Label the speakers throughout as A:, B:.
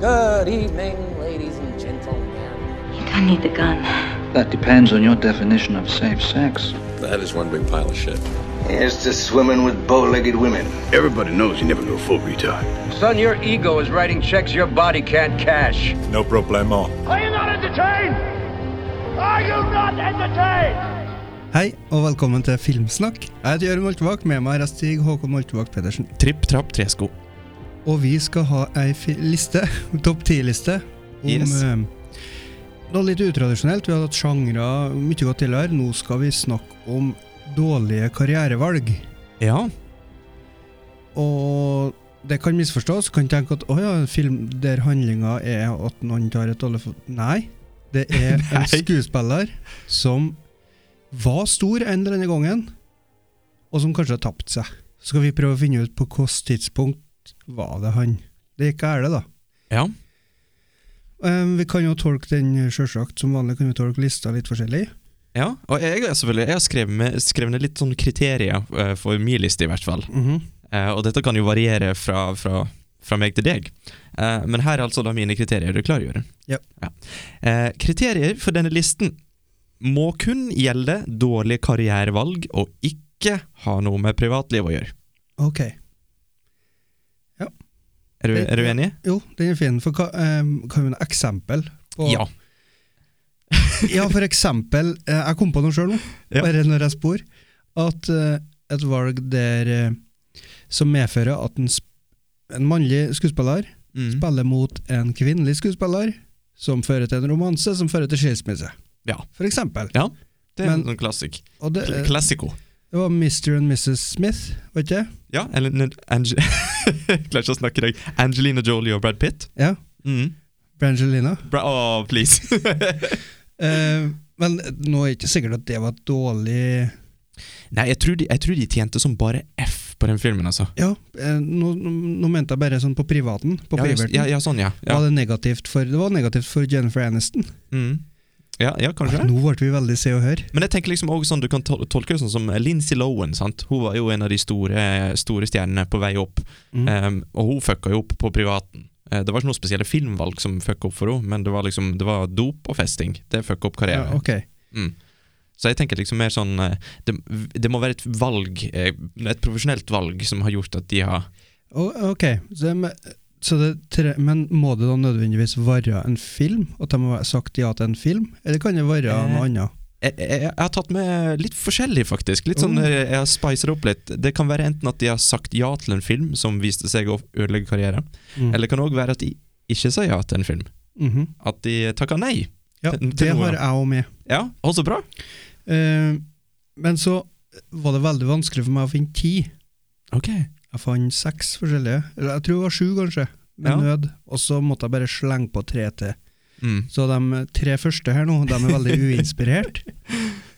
A: Good evening, ladies and gentlemen.
B: You don't need the gun.
C: That depends on your definition of safe sex.
D: That is one big pile of shit.
E: Here's to swimming with bow-legged women.
F: Everybody knows you never go full retard.
G: Son, your ego is writing checks your body can't cash.
H: No problemo.
I: Are you not entertained? Are you not entertained?
J: Hei, og velkommen til Filmsnakk. Jeg heter Jørund Moltebakk, med meg er jeg Stig Håkon Moltebakk Pedersen.
K: Tripp, trapp, tresko.
J: Og vi skal ha ei fi- liste, topp ti-liste, om
K: Yes.
J: eh, noe litt utradisjonelt. Vi har hatt sjangre mye godt tidligere. Nå skal vi snakke om dårlige karrierevalg.
K: Ja.
J: Og det kan misforstås. Kan tenke at å ja, en film der handlinga er at noen tar et oljefot Nei. Det er en
K: Nei.
J: skuespiller som var stor en eller annen gangen, og som kanskje har tapt seg. Så skal vi prøve å finne ut på hvilket tidspunkt var det han. Det gikk galt, da.
K: Ja.
J: Eh, vi kan jo tolke den eh, sjølsagt. Som vanlig kan vi tolke lista litt forskjellig.
K: ja. Og jeg, er selvfølgelig, jeg har skrevet, med, skrevet ned litt sånn kriterier eh, for min liste, i hvert fall.
J: Mhm.
K: Eh, og dette kan jo variere fra, fra, fra meg til deg. Eh, men her er altså da mine kriterier. Er du klar, Jørund?
J: Ja.
K: Eh, kriterier for denne listen må kun gjelde dårlige karrierevalg og ikke ha noe med privatliv å gjøre.
J: Ok.
K: Er du, er du enig?
J: Jo, den er fin. For hva, eh, kan vi ha et eksempel? På,
K: Ja.
J: Ja, for eksempel, eh, jeg kom på noe sjøl nå,
K: Ja.
J: bare når jeg spor, at eh, et valg der eh, som medfører at en, sp en mannlig skuespiller
K: Mm.
J: spiller mot en kvinnelig skuespiller, som fører til en romanse, som fører til skilsmisse.
K: Ja.
J: For eksempel.
K: Ja, det er
J: Men-
K: en sånn klassik.
J: Og det, eh,
K: Klassiko.
J: det var Mr. and Mrs. Smith, var ikke det?
K: Ja, eller n- Ange Jeg Klarer ikke å snakke i dag. Angelina Jolie og Brad Pitt.
J: Ja.
K: Mm.
J: Brangelina.
K: Bra Åh, please.
J: Eh, men nå er det ikke sikkert at det var et dårlig
K: Nei, jeg tror, de, jeg tror de tjente som bare F på den filmen, altså.
J: Ja, eh, nå, nå nå mente jeg bare sånn på privaten. På
K: ja,
J: privaten.
K: ja, ja, sånn, ja. Ja,
J: Var det, negativt for, det var negativt for Jennifer Aniston.
K: mm. ja, ja kanskje.
J: Nei, Nå ble vi veldig se og hør.
K: Men jeg tenker liksom også sånn, du kan tol tolke det sånn som Lindsay Lohan. sant? Hun var jo en av de store, store stjernene på vei opp,
J: Mm. Eh,
K: Ehm, og hun fucka jo opp på privaten. Eh, Det var ikke noen spesielle filmvalg som fucka opp for henne, men det var liksom, det var dop og festing. Det fucka opp
J: ja,
K: karrieren.
J: ok.
K: Mm. Så jeg tenker liksom mer sånn eh, Det, det må være et valg, eh, et profesjonelt valg, som har gjort at de har
J: O- ok, så, det med- så det, tre- Men må det da nødvendigvis være en film? At de har sagt ja til en film? Eller kan det være
K: Eh.
J: noe annet?
K: jeg, jeg, jeg har tatt med litt forskjellig, faktisk. Litt sånn,
J: Oh.
K: eh, Jeg har spicer opp litt. Det kan være enten at de har sagt ja til en film som viste seg å ødelegge karrieren,
J: Mm.
K: eller det kan òg være at de ikke sa ja til en film.
J: Mhm.
K: At de takka nei.
J: Ja,
K: Til- til
J: det
K: noe,
J: har jeg
K: da.
J: òg med.
K: Ja, og så bra.
J: Eh, men så var det veldig vanskelig for meg å finne ti.
K: Ok.
J: Jeg fant seks forskjellige. Eller jeg tror det var sju, kanskje. Med
K: Ja.
J: nød. Og så måtte jeg bare slenge på tre til.
K: Mm.
J: Så de tre første her nå, de er veldig uinspirert.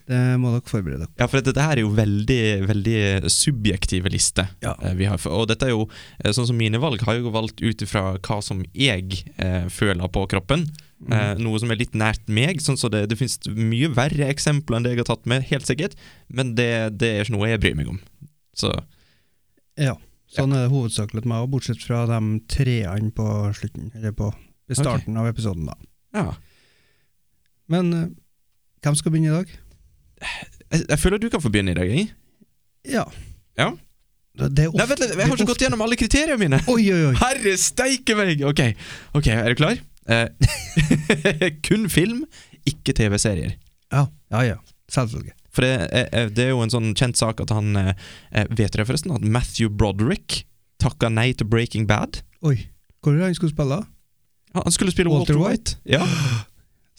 J: Det må dere forberede dere
K: Ja, for dette her er jo veldig, veldig subjektive lister
J: Ja.
K: eh, vi har. Og dette er jo, eh, sånn som mine valg, har jeg jo valgt ut ifra hva som jeg eh, føler på kroppen. Eh, noe som er litt nært meg. Sånn så det, det finnes mye verre eksempler enn det jeg har tatt med, helt sikkert. Men det, det er ikke noe jeg bryr meg om. Så
J: Ja. Sånn er det hovedsakelig med meg, bortsett fra de treene på slutten, eller på i starten av episoden, da.
K: ja.
J: Men eh, hvem skal begynne i dag?
K: Jeg, jeg føler du kan få begynne i dag. Jeg.
J: Ja.
K: Ja.
J: Det, det er ofte,
K: Nei, vent litt, jeg har ikke gått gjennom alle kriteriene mine!
J: Oi, oi, oi.
K: Herre steike meg! Ok, ok, er du klar? Eh, kun film, ikke TV-serier.
J: Ja, ja. ja. Selvfølgelig.
K: For det, er- er- det er jo en sånn kjent sak at han eh, eh, Vet dere forresten at Matthew Broderick takka nei til Breaking Bad?
J: Oi. Hvor er det han skulle spille? da?
K: Han han skulle spille Walter,
J: Walter
K: White. Ja.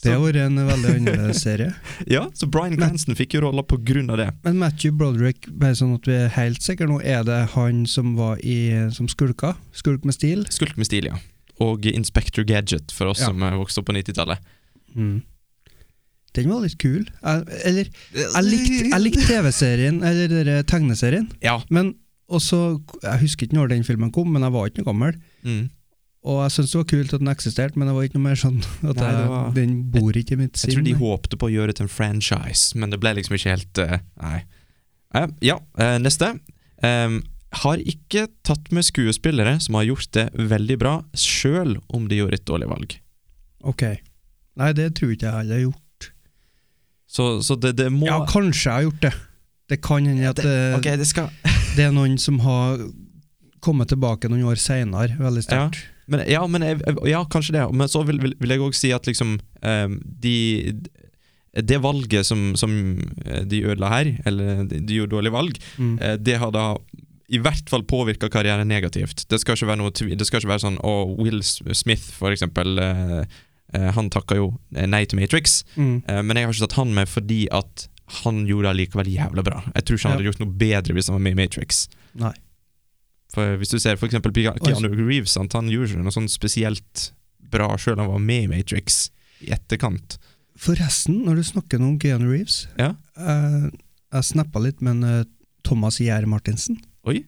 J: Det har
K: Så,
J: vært en veldig annerledes serie.
K: ja, så Bryan
J: Men-
K: Cranston fikk jo rolla på grunn av det.
J: Men Matthew Broderick, bare sånn at vi er helt sikre nå, er det han som var i Som skulka? Skulk med stil?
K: Skulk med stil, ja. Og Inspector Gadget, for oss
J: Ja.
K: som eh, vokste opp på 90-tallet. Mm.
J: Den var litt kul. Jeg, eller, jeg likte jeg likte TV-serien, eller dere tegneserien.
K: Ja.
J: Men også, Jeg husker ikke når den filmen kom, men jeg var ikke noe gammel.
K: Mm.
J: Og jeg syntes det var kult at den eksisterte, men jeg var ikke noe mer sånn at
K: Nei, det
J: jeg,
K: var-
J: den bor ikke i mitt
K: Jeg tror
J: sinn.
K: de håpte på å gjøre det til en franchise, men det ble liksom ikke helt eh, Nei. Eh, ja, eh, neste. Um, Har ikke tatt med skuespillere som har gjort det veldig bra, sjøl om de gjorde et dårlig valg.
J: Ok. Nei, det tror ikke jeg heller jeg har gjort.
K: Så, så det, det må Eh,
J: Ja, kanskje jeg har gjort det. Det kan hende at det,
K: Ok, det skal
J: det er noen som har kommet tilbake noen år seinere, veldig sterkt.
K: Men, ja, men jeg, jeg- ja, kanskje det. Men så vil, vil, vil jeg òg si at liksom ehm, de, Det valget som, som eh, de ødela her, eller de, de gjorde dårlig valg,
J: Mm.
K: eh, det har da i hvert fall påvirka karrieren negativt. Det skal ikke være noe tvi- Det skal ikke være sånn Å, Will S- Smith, for eksempel. eh, eh, han takka jo eh, nei til Matrix,
J: Mm.
K: eh, men jeg har ikke tatt han med fordi at han gjorde det likevel jævla bra. Jeg tror ikke han
J: Ja.
K: hadde gjort noe bedre hvis han var med i Matrix.
J: Nei.
K: For Hvis du ser for eksempel Pia-
J: Oi.
K: Keanu Reeves, sant? han gjorde ikke noe sånn spesielt bra sjøl han var med i Matrix i etterkant.
J: Forresten, når du snakker nå om Keanu Reeves
K: Ja.
J: eh, Jeg snappa litt med en, eh, Thomas Gjær Martinsen,
K: Oi.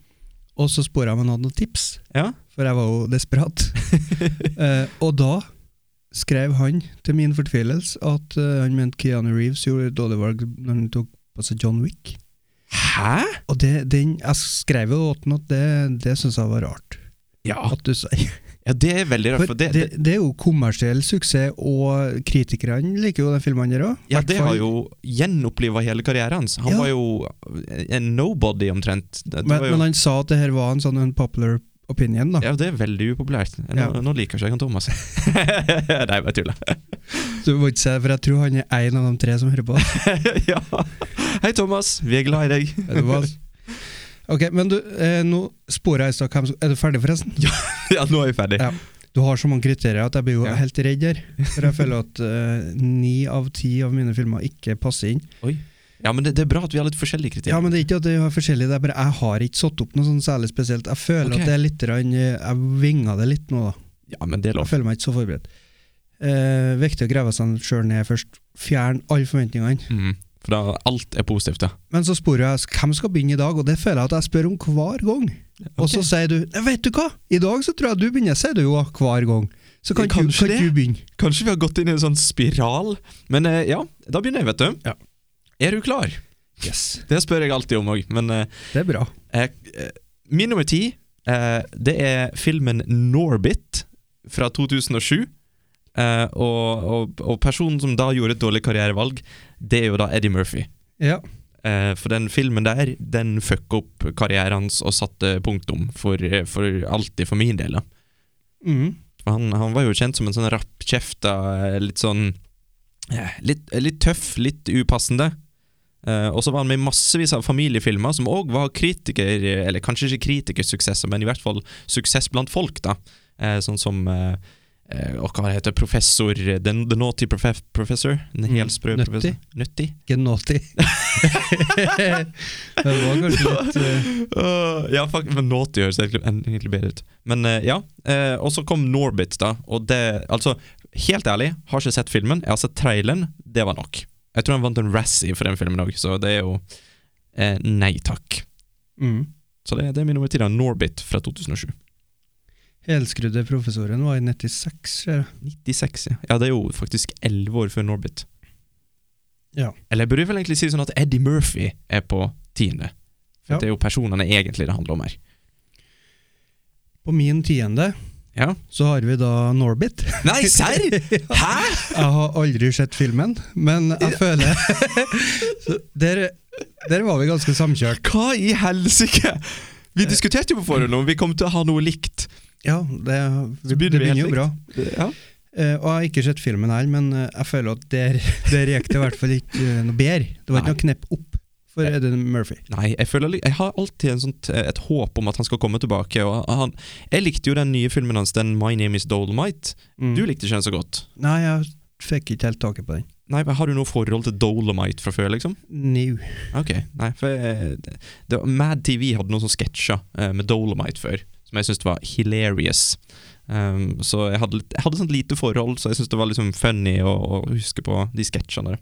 J: og så spora jeg om han hadde noen tips,
K: Ja.
J: for jeg var jo desperat. Eh, og da skrev han, til min fortvilelse, at eh, han mente Keanu Reeves gjorde et dårlig valg når han tok på seg John Wick.
K: Hæ?!
J: Og det, den, jeg skrev jo åten at det, det syns jeg var rart.
K: Ja,
J: At du sier
K: ja det er veldig rart.
J: For det, det, er jo kommersiell suksess, og kritikerne liker jo den filmen der òg.
K: ja, det har jo gjenoppliva hele karrieren hans. Han
J: Ja.
K: var jo en nobody, omtrent. Det, det
J: Men,
K: var jo,
J: men han sa at det her var en sånn unpopular opinion, da.
K: ja, det er veldig upopulært. Nå,
J: Ja.
K: nå liker ikke jeg han Thomas. Nei, bare tuller.
J: Så du må ikke si det, for jeg tror han er en av de tre som hører på.
K: ja. Hei, Thomas. Vi er glad i deg.
J: Ja, det var- altså- ok, men du, eh, nå sporer jeg i stakk. hvem som- Er du ferdig, forresten?
K: ja, nå er vi ferdig.
J: Ja. Du har så mange kriterier at jeg blir jo
K: Ja.
J: helt redd her. For jeg føler at eh, ni av ti av mine filmer ikke passer inn.
K: Oi. Ja, men det, det er bra at vi har litt forskjellige kriterier.
J: Ja, men det er ikke at jeg har forskjellig, det er bare jeg har ikke satt opp noe sånn særlig spesielt. Jeg føler
K: Ok.
J: at det er litt grann, eh, Jeg vinga det litt nå, da.
K: ja, men det er
J: Jeg
K: lov.
J: føler meg ikke så forberedt. Eh, viktig å grave seg sjøl ned først. Fjern alle forventningene.
K: Mm. For da alt er positivt, ja.
J: Men så spør jeg hvem skal begynne i dag, og det føler jeg at jeg spør om hver gang. Og så sier du «Nei, 'vet du hva, i dag så tror jeg du begynner', sier du jo hver gang. Så kan, ikke du,
K: Kanskje
J: kan
K: det.
J: du begynne.
K: Kanskje vi har gått inn i en sånn spiral. Men eh, ja, da begynner jeg, vet du.
J: Ja.
K: Er du klar?
J: Yes,
K: Det spør jeg alltid om òg. Men eh,
J: det er bra.
K: eh, eh, min nummer ti, eh, det er filmen Norbit fra 2007. Eh, og, og, og personen som da gjorde et dårlig karrierevalg, det er jo da Eddie Murphy.
J: Ja,
K: Eh, for den filmen der, den fucka opp karrieren hans og satte punktum for, eh, for alltid, for min del. da.
J: mm.
K: For han, han var jo kjent som en sånn rappkjefta, eh, litt sånn eh, litt, eh, litt tøff, litt upassende. Eh, og så var han med i massevis av familiefilmer som òg var kritiker, eller kanskje ikke kritikersukcesser, men i hvert fall suksess blant folk, da. Eh, sånn som eh, eh, og hva heter det, professor The, the Naughty Profe- Professor? En
J: Mm,
K: helt sprø
J: Nutty.
K: professor? Nutty.
J: ikke naughty. det var kanskje litt eh,
K: Øh, ja, fuck, men Naughty høres egentlig egentlig bedre ut. Men eh, ja. eh, og så kom Norbit, da. Og det Altså, helt ærlig, har ikke sett filmen. Jeg har sett traileren. Det var nok. Jeg tror han vant en Razzie for den filmen òg, så det er jo eh, Nei takk.
J: mm.
K: Så det, det er min nummer ti, da. Norbit fra 2007.
J: Helskrudde professoren var i 96, ser jeg.
K: 96, ja. Ja, det er jo faktisk elleve år før Norbit.
J: Ja.
K: Eller jeg burde vel egentlig si sånn at Eddie Murphy er på tiende. For
J: Ja.
K: det er jo personene egentlig det handler om her.
J: På min tiende
K: Ja.
J: så har vi da Norbit.
K: Nei, serr?! Hæ?!
J: Jeg har aldri sett filmen, men jeg føler Så der, der var vi ganske samkjørt.
K: Hva i helsike? Vi diskuterte jo på forhånd om vi kom til å ha noe likt.
J: Ja, det,
K: Så
J: det
K: begynner vi helt
J: begynner jo bra.
K: Ja.
J: Eh, og jeg har ikke sett filmen her, men eh, jeg føler at der, der gikk det i hvert fall ikke eh, noe bedre. Det var ikke
K: Nei.
J: noe knepp opp for Eddie Murphy.
K: Nei, jeg føler li- Jeg har alltid en sånt, eh, et håp om at han skal komme tilbake. Og han, jeg likte jo den nye filmen hans, den My Name Is Dolomite.
J: Mm.
K: Du likte ikke den så godt.
J: Nei, jeg fikk ikke helt taket på den.
K: Nei, men Har du noe forhold til Dolomite fra før, liksom?
J: New.
K: Ok, nei, for jeg, det, det, var- Mad TV hadde noen sånne sketsjer eh, med Dolomite før, som jeg syntes var hilarious. Um, så jeg hadde, litt- jeg hadde sånt lite forhold, så jeg syntes det var liksom funny å, å huske på de sketsjene. der.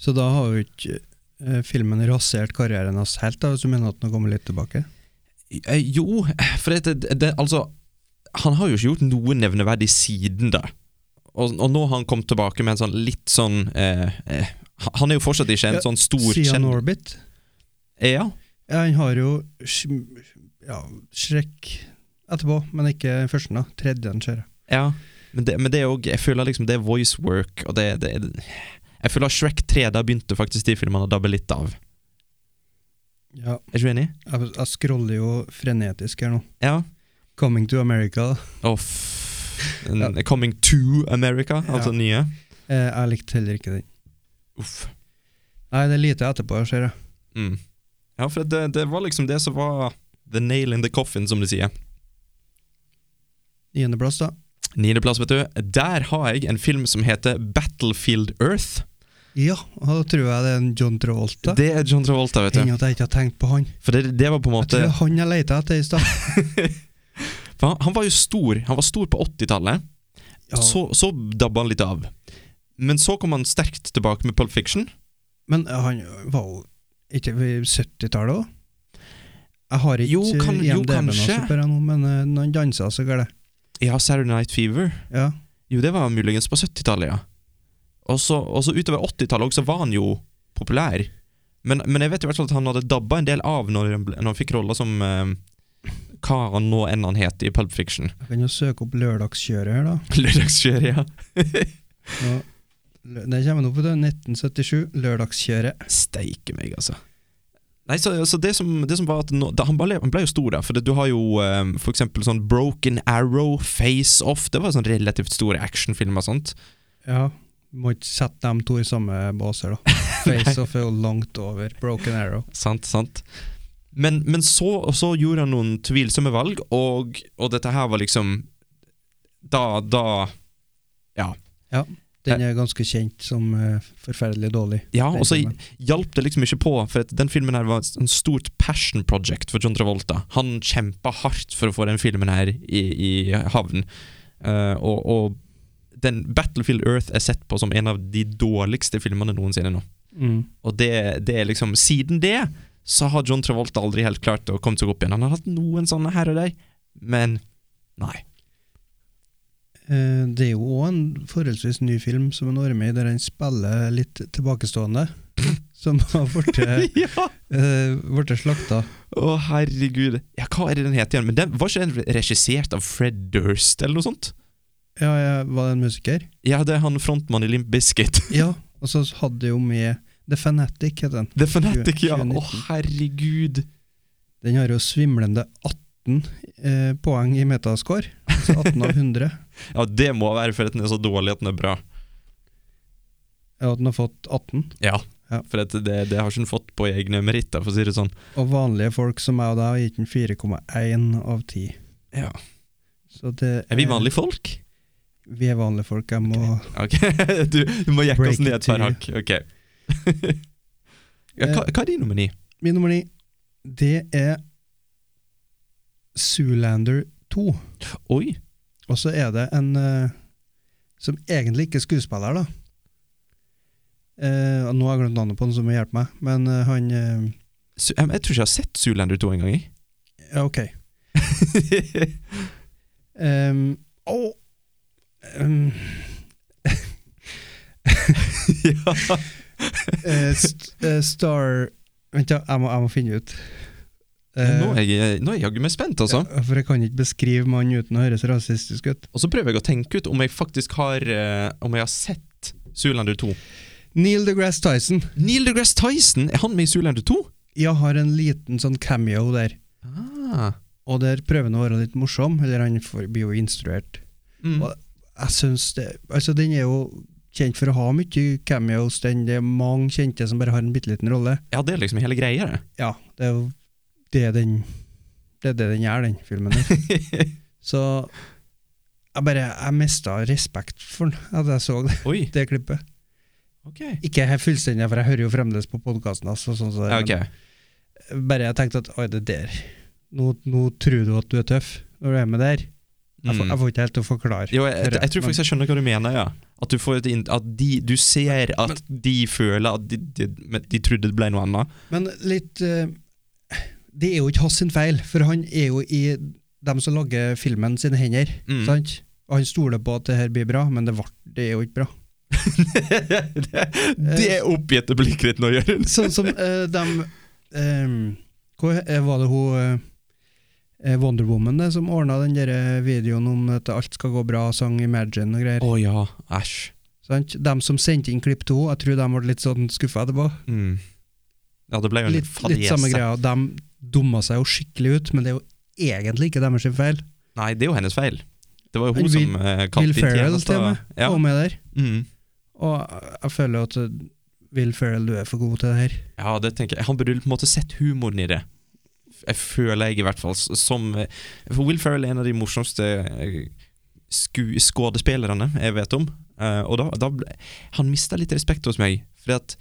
J: Så da har jo ikke eh, filmen rasert karrieren hans helt, da, hvis du mener at den kommer litt tilbake?
K: Eh, Jo, for det, det, det, altså Han har jo ikke gjort noe nevneverdig siden da. Og, og nå har han kommet tilbake med en sånn litt sånn eh, eh, Han er jo fortsatt ikke en
J: Ja,
K: sånn stor
J: Sian
K: kjendis.
J: Orbit.
K: Ja,
J: Ja, han har jo sm- ja, Shrek etterpå, men ikke førsten, da. Tredjen ser jeg.
K: Ja, men det, men det er jo Jeg føler liksom det er voice work, og det, det Jeg føler Shrek 3 da begynte faktisk de filmene å dabbe litt av.
J: Ja,
K: Er du enig?
J: jeg, jeg scroller jo frenetisk her nå.
K: Ja.
J: Coming to America.
K: Og en Coming to America, altså
J: Ja.
K: den nye.
J: Eh, jeg likte heller ikke den.
K: Uff.
J: Nei, det er lite etterpå, ser jeg.
K: Mm. Ja, for det, det var liksom det som var the nail in the coffin, som de sier.
J: Niendeplass, da.
K: Niendeplass, vet du. Der har jeg en film som heter Battlefield Earth.
J: Ja, og da tror jeg det er en John Travolta.
K: Det er John Travolta, vet
J: Enn
K: du.
J: at jeg ikke har tenkt på han.
K: For det, det var på en
J: Jeg tror
K: måte
J: det er han jeg leita etter i stad.
K: for han, han var jo stor. Han var stor på 80-tallet.
J: Ja.
K: Så, så dabba han litt av. Men så kom han sterkt tilbake med Pulp Fiction.
J: Men han var jo ikke ved 70-tallet òg? Jeg har ikke
K: Jo, kan- jo,
J: IMDb-en og
K: kanskje.
J: super nå, men eh, når han dansa, så går det.
K: Ja, Saturday Night Fever.
J: Ja.
K: Jo, det var muligens på 70-tallet, ja. Og så og så utover 80-tallet også, så var han jo populær. Men, men jeg vet jo i hvert fall at han hadde dabba en del av når han, ble, når han fikk rolla som eh, hva han nå enn han het i Pulp Fiction.
J: Jeg kan jo søke opp lørdagskjøret her, da.
K: Lørdagskjøret, ja.
J: Nå, lø- det kommer nå på det. 1977, lørdagskjøret.
K: Steike meg, altså. Nei, så, så det, som, det som var at nå, da, han, ble, han ble jo stor, da. For det, du har jo eh, for eksempel sånn Broken Arrow, Face Off. Det var sånn relativt store actionfilmer og sånt.
J: Ja. Må ikke sette dem to i samme bås her, da. Faceoff er jo langt over Broken Arrow.
K: Sant, sant. Men, men så, og så gjorde han noen tvilsomme valg, og, og dette her var liksom Da, da Ja.
J: Den er ganske kjent som eh, forferdelig dårlig.
K: ja altså og så
J: Den filmen.
K: hjalp det liksom ikke på, for at den filmen her var et stort passion project for John Travolta. Han kjempa hardt for å få den filmen her i, i havn. Eh, og, og den Battlefield Earth er sett på som en av de dårligste filmene noensinne nå.
J: Mm.
K: Og det, det er liksom Siden det så har John Travolta aldri helt klart å komme seg opp igjen. Han har hatt noen sånne her og der, men nei.
J: Eh, Det er jo òg en forholdsvis ny film som en orme i, der han spiller litt tilbakestående. Som har blitt eh,
K: ja!
J: uh, slakta.
K: Å, herregud. Ja, hva er det den heter igjen? Men den, Var ikke den regissert av Fred Durst, eller noe sånt?
J: Ja, jeg var det en musiker?
K: Ja, det er han frontmannen i Limp Bizkit.
J: Ja. Og så hadde jeg jo med The Fanatic, het den.
K: The Fanatic, ja. Å,
J: 2019.
K: herregud.
J: Den har jo svimlende 18 eh, poeng i metascore. Altså 18 av 100.
K: Ja, det må være fordi den er så dårlig at den er bra.
J: Ja, den har fått 18.
K: Ja.
J: Ja.
K: For at det, det har ikke den fått på egne meritter, for å si det sånn.
J: Og vanlige folk som meg og deg har gitt den 4,1 av 10.
K: Ja.
J: Så det
K: Er vi vanlige folk?
J: Vi er vanlige folk. Jeg må
K: Ok, du, du må jekke
J: Break
K: oss ned
J: it
K: et par
J: to you.
K: hakk. Ok. ja, hva, hva er din nummer ni?
J: Min nummer ni, det er Zoolander 2.
K: Oi.
J: Og så er det en eh, som egentlig ikke er skuespiller, da. Eh, og nå har jeg glemt navnet på han som må hjelpe meg, men eh, han eh,
K: Su- Jeg, jeg tror ikke jeg har sett Zoolander 2 engang. jeg.
J: Ja, ok. Um, å, um,
K: ja.
J: eh, st eh, Star Vent, ja, jeg må, jeg må finne ut.
K: Ja, Nå
J: Eh,
K: er jeg nå er jeg jaggu meg spent, altså.
J: ja, for jeg kan ikke beskrive mannen uten å høres rasistisk ut.
K: Og så prøver jeg å tenke ut om jeg faktisk har eh, Om jeg har sett Zoolander 2.
J: Neil deGrasse Tyson.
K: Neil deGrasse Tyson, er han med i Zoolander 2?
J: Jeg har en liten sånn cameo der.
K: Ah.
J: Og der prøver han å være litt morsom, eller han får, blir jo instruert.
K: Mm.
J: Og jeg synes det Altså, den er jo kjent for å ha mye cameos, den. Det er mange kjente som bare har en bitte liten rolle.
K: Ja, det er liksom hele greia, det.
J: Ja, det er jo det den Det er det den gjør, den filmen der. Så jeg bare Jeg mista respekt for den at jeg så det,
K: Oi.
J: det klippet.
K: Ok.
J: Ikke helt fullstendig, for jeg hører jo fremdeles på podkasten hans. og Sånn, så,
K: Ja, ok.
J: Bare jeg tenkte at oi, det der nå, nå tror du at du er tøff når du er med der. Jeg får,
K: Mm.
J: jeg får ikke helt til å forklare.
K: Jo, jeg, jeg, jeg tror
J: Men-
K: faktisk jeg skjønner hva du mener, ja. At du, får et inn- at de, du ser at de føler at de, de, men de trodde det ble noe annet.
J: Men litt eh, Det er jo ikke hans sin feil, for han er jo i dem som lager filmen sine hender.
K: Mm.
J: Sant? Og han stoler på at det her blir bra, men det, var, det er jo ikke bra.
K: det, det
J: Eh,
K: oppgitte blikket ditt nå, Jørund.
J: Sånn som eh, dem eh, Hva he- eh, var det hun eh, eh, Wonder Woman det, som ordna den der eh, videoen om at alt skal gå bra, sang Imagine og greier.
K: Å ja, æsj.
J: Sant? De som sendte inn klipp to, jeg tror de ble litt sånn skuffa etterpå.
K: Mm. Ja, det ble jo en
J: Litt, litt samme
K: fadese.
J: greia. De dumma seg jo skikkelig ut, men det er jo egentlig ikke deres sin feil.
K: Nei, det er jo hennes feil. Det var jo
J: Men
K: hun
J: Will-
K: som eh, kalte
J: Will
K: inn
J: Ferrell
K: tjenester.
J: til og med
K: Ja.
J: var med der.
K: Mm.
J: Og jeg føler at eh, Will Ferrell, du er for god til det her.
K: ja, det tenker jeg. Han burde på en måte sett humoren i det. Jeg føler jeg i hvert fall s- som eh, For Will Ferrell er en av de morsomste eh, sku, skuespillerne jeg vet om. Eh, og da, da ble, Han mista litt respekt hos meg, fordi at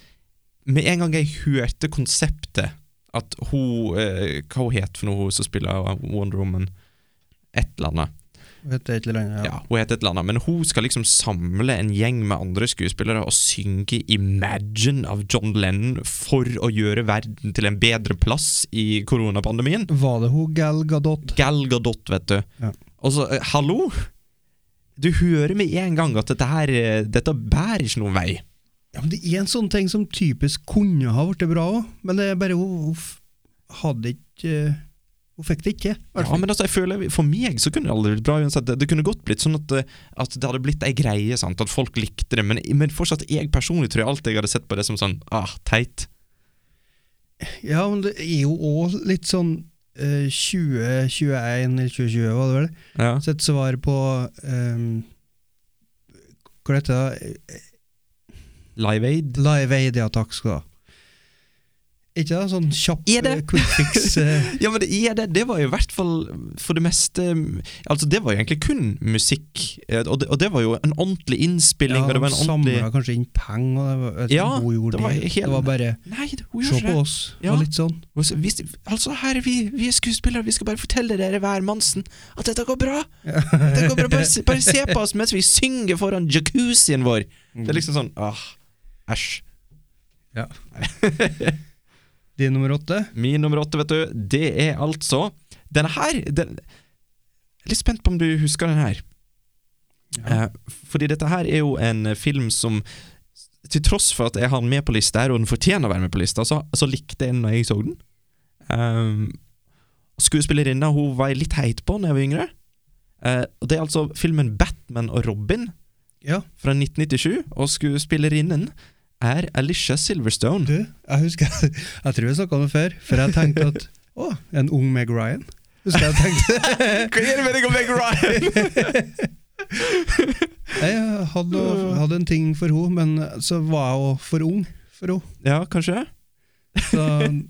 K: med en gang jeg hørte konseptet at hun eh, Hva hun het for noe, hun som spiller eh, Wonder Woman? Et eller annet.
J: Vet du, et eller annet, ja.
K: Ja, hun heter et eller annet, men hun skal liksom samle en gjeng med andre skuespillere og synge 'Imagine' av John Lennon for å gjøre verden til en bedre plass i koronapandemien.
J: Var det hun Gal Gadot?
K: Gal Gadot, vet du.
J: Ja.
K: Og så, eh, hallo! Du hører med en gang at dette her, eh, dette bærer ikke noen vei.
J: Ja, men Det er en sånn ting som typisk kunne ha blitt bra òg, men det er bare hun, hun f- hadde ikke eh, Hun fikk det ikke. i hvert
K: Ja,
J: fall.
K: men altså, jeg føler, For meg så kunne det aldri blitt bra uansett. Det, det kunne godt blitt sånn at, eh, at det hadde blitt ei greie, sant? at folk likte det, men, men fortsatt, jeg personlig tror jeg alltid jeg hadde sett på det som sånn ah, teit.
J: Ja, men det er jo òg litt sånn eh, 2021 eller 2020, var det vel?
K: Ja.
J: Så et svar på um, Hva heter det? da?
K: Live Aid.
J: Live Aid, ja takk skal du ha. Ikke det? Sånn kjapp
K: Er det?
J: eh, quick fix. eh,
K: Ja, men det er det. Det var jo i hvert fall for det meste Altså, det var jo egentlig kun musikk, eh, og det, og det var jo en ordentlig innspilling,
J: ja,
K: og det var
J: de
K: en ordentlig
J: samla kanskje inn penger, og det var, jeg vet ikke
K: Ja,
J: om hun gjorde
K: det var
J: det.
K: helt-
J: Det var bare
K: Nei, det- hun
J: Se
K: gjør
J: på
K: ikke det.
J: oss,
K: Ja.
J: og litt sånn.
K: Og så hvis- altså, her er vi, vi er skuespillere, vi skal bare fortelle dere hver mannsen at dette går bra. Dette går bra. Bare, se- bare se på oss mens vi synger foran jacuzzien vår. Det er liksom sånn ah, Æsj.
J: Ja. Din nummer åtte?
K: Min nummer åtte, vet du, det er altså Denne her den, Jeg er litt spent på om du husker den her. Eh, fordi dette her er jo en eh, film som Til tross for at jeg har den med på lista her, og den fortjener å være med på lista, så, så likte jeg den når jeg så den. Um, skuespillerinna hun var jeg litt heit på da jeg var yngre. Eh, og det er altså filmen 'Batman og Robin'
J: Ja.
K: fra 1997, og skuespillerinnen er Alicia Silverstone.
J: Du, jeg husker Jeg tror jeg snakka om det før, for jeg tenkte at Å, en ung Meg Ryan? Husker jeg tenkte
K: Hva er det med deg og Meg Ryan?
J: Jeg hadde, noe- hadde en ting for henne, men så var jeg òg for ung for henne.
K: Ja, kanskje?
J: Så hun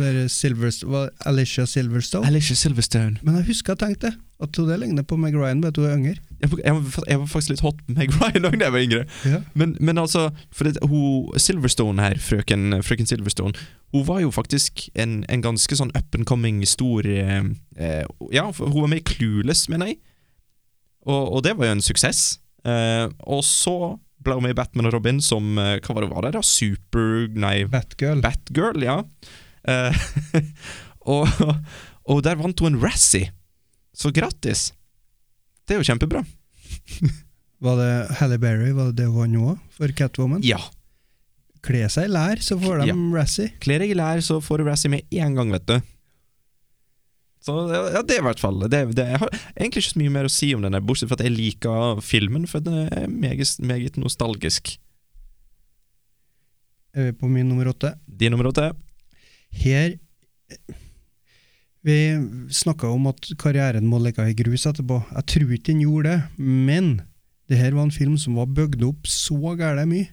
J: der Silverstone var Alicia Silverstone.
K: Alicia Silverstone.
J: Men jeg husker jeg tenkte at hun der ligner på Meg Ryan, bare at hun er yngre.
K: Jeg, jeg, var fa- jeg var faktisk litt hot med Meg Ryan òg da jeg var yngre.
J: Ja.
K: Men, men altså, for det, hun, Silverstone her, frøken, frøken Silverstone, hun var jo faktisk en, en ganske sånn up and coming stor eh, eh, Ja, for hun var med i Clueless, mener jeg. Og, og det var jo en suksess. Eh, og så ble hun med i Batman og Robin som eh, Hva var det hun var der, da? Super... Nei,
J: Batgirl.
K: Batgirl, ja. Eh, og, og der vant hun en Razzie. Så grattis! Det er jo kjempebra.
J: Var det Halle Berry? Var det det hun nå òg, for Catwoman?
K: Ja.
J: Kle seg i lær, så får de
K: Ja.
J: Razzie.
K: Kler deg i lær, så får du Razzie med én gang, vet du. Så ja, det er i hvert fall det, det, Jeg har egentlig ikke så mye mer å si om den, der, bortsett fra at jeg liker filmen, for den er meget, meget nostalgisk.
J: Er vi på min nummer åtte?
K: Din nummer åtte?
J: Her Vi snakka om at karrieren må ligge i grus etterpå. Jeg tror ikke den gjorde det, men det her var en film som var bygd opp så gæle mye.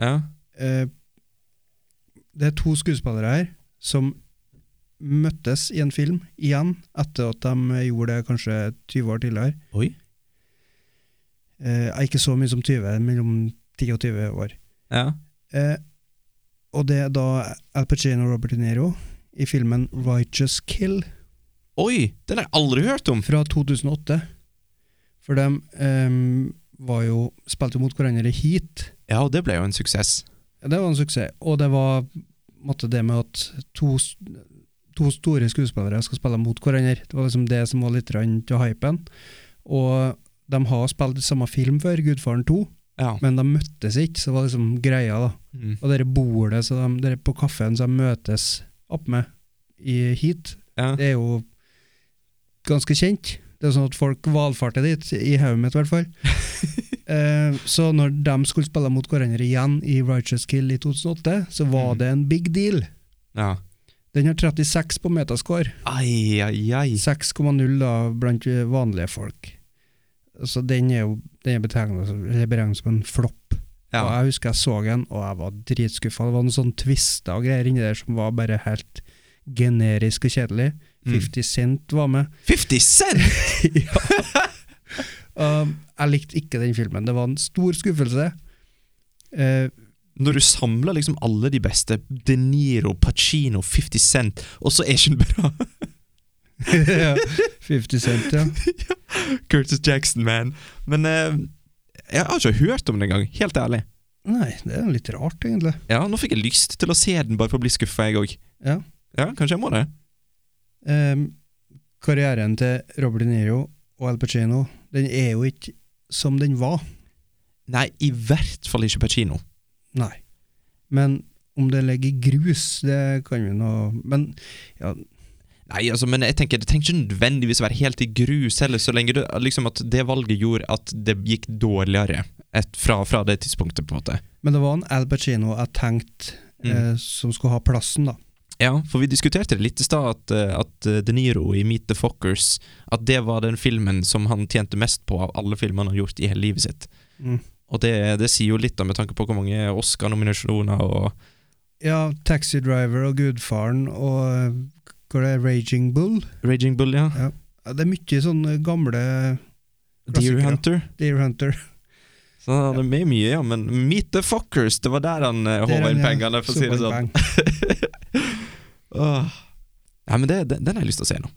K: Ja.
J: Eh, Det er to skuespillere her som møttes i en film igjen, etter at de gjorde det kanskje 20 år tidligere.
K: Oi.
J: Eh, Ikke så mye som 20, mellom 10 og 20 år.
K: Ja.
J: Eh, og det er da Al Pacino og Robert De Niro i filmen Righteous Kill
K: Oi! Den har jeg aldri hørt om!
J: fra 2008. For de ehm, var jo, spilte jo mot hverandre hit.
K: Ja, og det ble jo en suksess.
J: Det var en suksess. Og det var måtte det med at to, s- to store skuespillere skal spille mot hverandre. Det var liksom det som var litt grann til hypen. Og de har spilt i samme film før, Gudfaren 2,
K: Ja.
J: men de møttes ikke, så det var liksom greia, da.
K: Mm.
J: Og dere bor det, så de, dere på kaffen så de møtes opp med i hit.
K: ja.
J: Det er jo ganske kjent. Det er sånn at folk valfarter dit, i hodet mitt i hvert fall. Eh, så når de skulle spille mot hverandre igjen i Righteous Kill i 2008, så var det en big deal.
K: Ja.
J: Den har 36 på metascore.
K: Ai, ai, ai.
J: 6,0 da blant eh, vanlige folk. Så den er jo den er betegnet, eller beregnet som en flopp.
K: Ja.
J: Og jeg husker jeg så den, og jeg var dritskuffa. Det var noen sånne twister og greier inni der som var bare helt generisk og kjedelig. 50 Cent var med.
K: 50 Cent!
J: Um, jeg likte ikke den filmen. Det var en stor skuffelse. Eh,
K: Når du samler liksom alle de beste, De Niro, Pacino, 50 Cent, og så er ikke den bra.
J: ja, 50 Cent, ja.
K: Curtis Jackson, man. Men eh, jeg har ikke hørt om den engang, helt ærlig.
J: Nei, det er litt rart, egentlig.
K: Ja, nå fikk jeg lyst til å se den bare for å bli skuffa, jeg òg.
J: Ja.
K: Ja, kanskje jeg må det.
J: Ehm, karrieren til Robert De Niro og Al Pacino Den er jo ikke som den var,
K: Nei, i hvert fall ikke Pacino.
J: nei. Men om det ligger i grus, det kan vi nå Men ja,
K: Nei, altså, men jeg tenker Det trenger ikke nødvendigvis være helt i grus heller, så lenge du, liksom at det valget gjorde at det gikk dårligere et, fra, fra det tidspunktet, på en måte.
J: men det var en Al Pacino jeg tenkte
K: Mm.
J: eh, som skulle ha plassen, da.
K: Ja, for vi diskuterte det litt i stad, at, eh, at eh, De Niro i Meet the Fockers At det var den filmen som han tjente mest på av alle filmer han har gjort i hele livet sitt.
J: Mm.
K: Og det, det sier jo litt, da, med tanke på hvor mange Oscar-nominasjoner og
J: Ja, Taxi Driver og Gudfaren og eh, hva er det, Raging Bull.
K: Raging Bull, ja.
J: Ja, det er mye sånne gamle
K: Deer
J: Klassikere.
K: Hunter.
J: Deer Hunter.
K: Så han er med i mye, ja, men Meet the Fuckers, det var der han eh,
J: Der
K: håva
J: han,
K: inn
J: ja,
K: pengene, for å si det
J: Super
K: sånn.
J: Bang.
K: Åh. Nei, men det, den, den har jeg lyst til å se nå.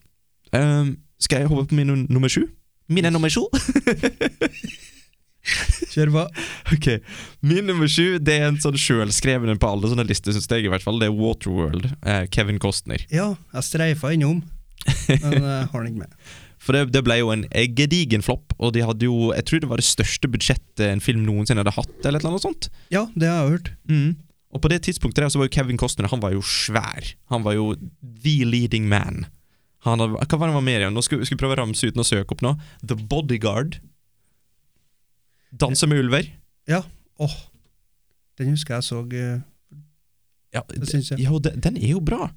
K: Ehm, skal jeg hoppe på min num- nummer sju? Min er nummer sju?
J: Kjør hva?
K: ok, Min nummer sju det er en sånn sjølskreven en på alle sånne lister, syns jeg. i hvert fall Det er Waterworld, eh, Kevin Costner.
J: Ja, jeg streifa innom, men jeg har den ikke med.
K: For det, det ble jo en gedigen flopp, og de hadde jo Jeg tror det var det største budsjettet en film noensinne hadde hatt, eller et eller annet sånt.
J: Ja, det har jeg hørt.
K: Mm. Og på det tidspunktet der så var jo Kevin Costner Han var jo svær. Han var jo the leading man. Han hadde, hva var det han var med i? igjen? Nå skal vi prøve å ramse ut og søke opp nå. The Bodyguard. Danse med ulver.
J: Ja, åh. Den husker jeg så eh,
K: Ja,
J: Det syns jeg.
K: Jo, de- den er jo bra.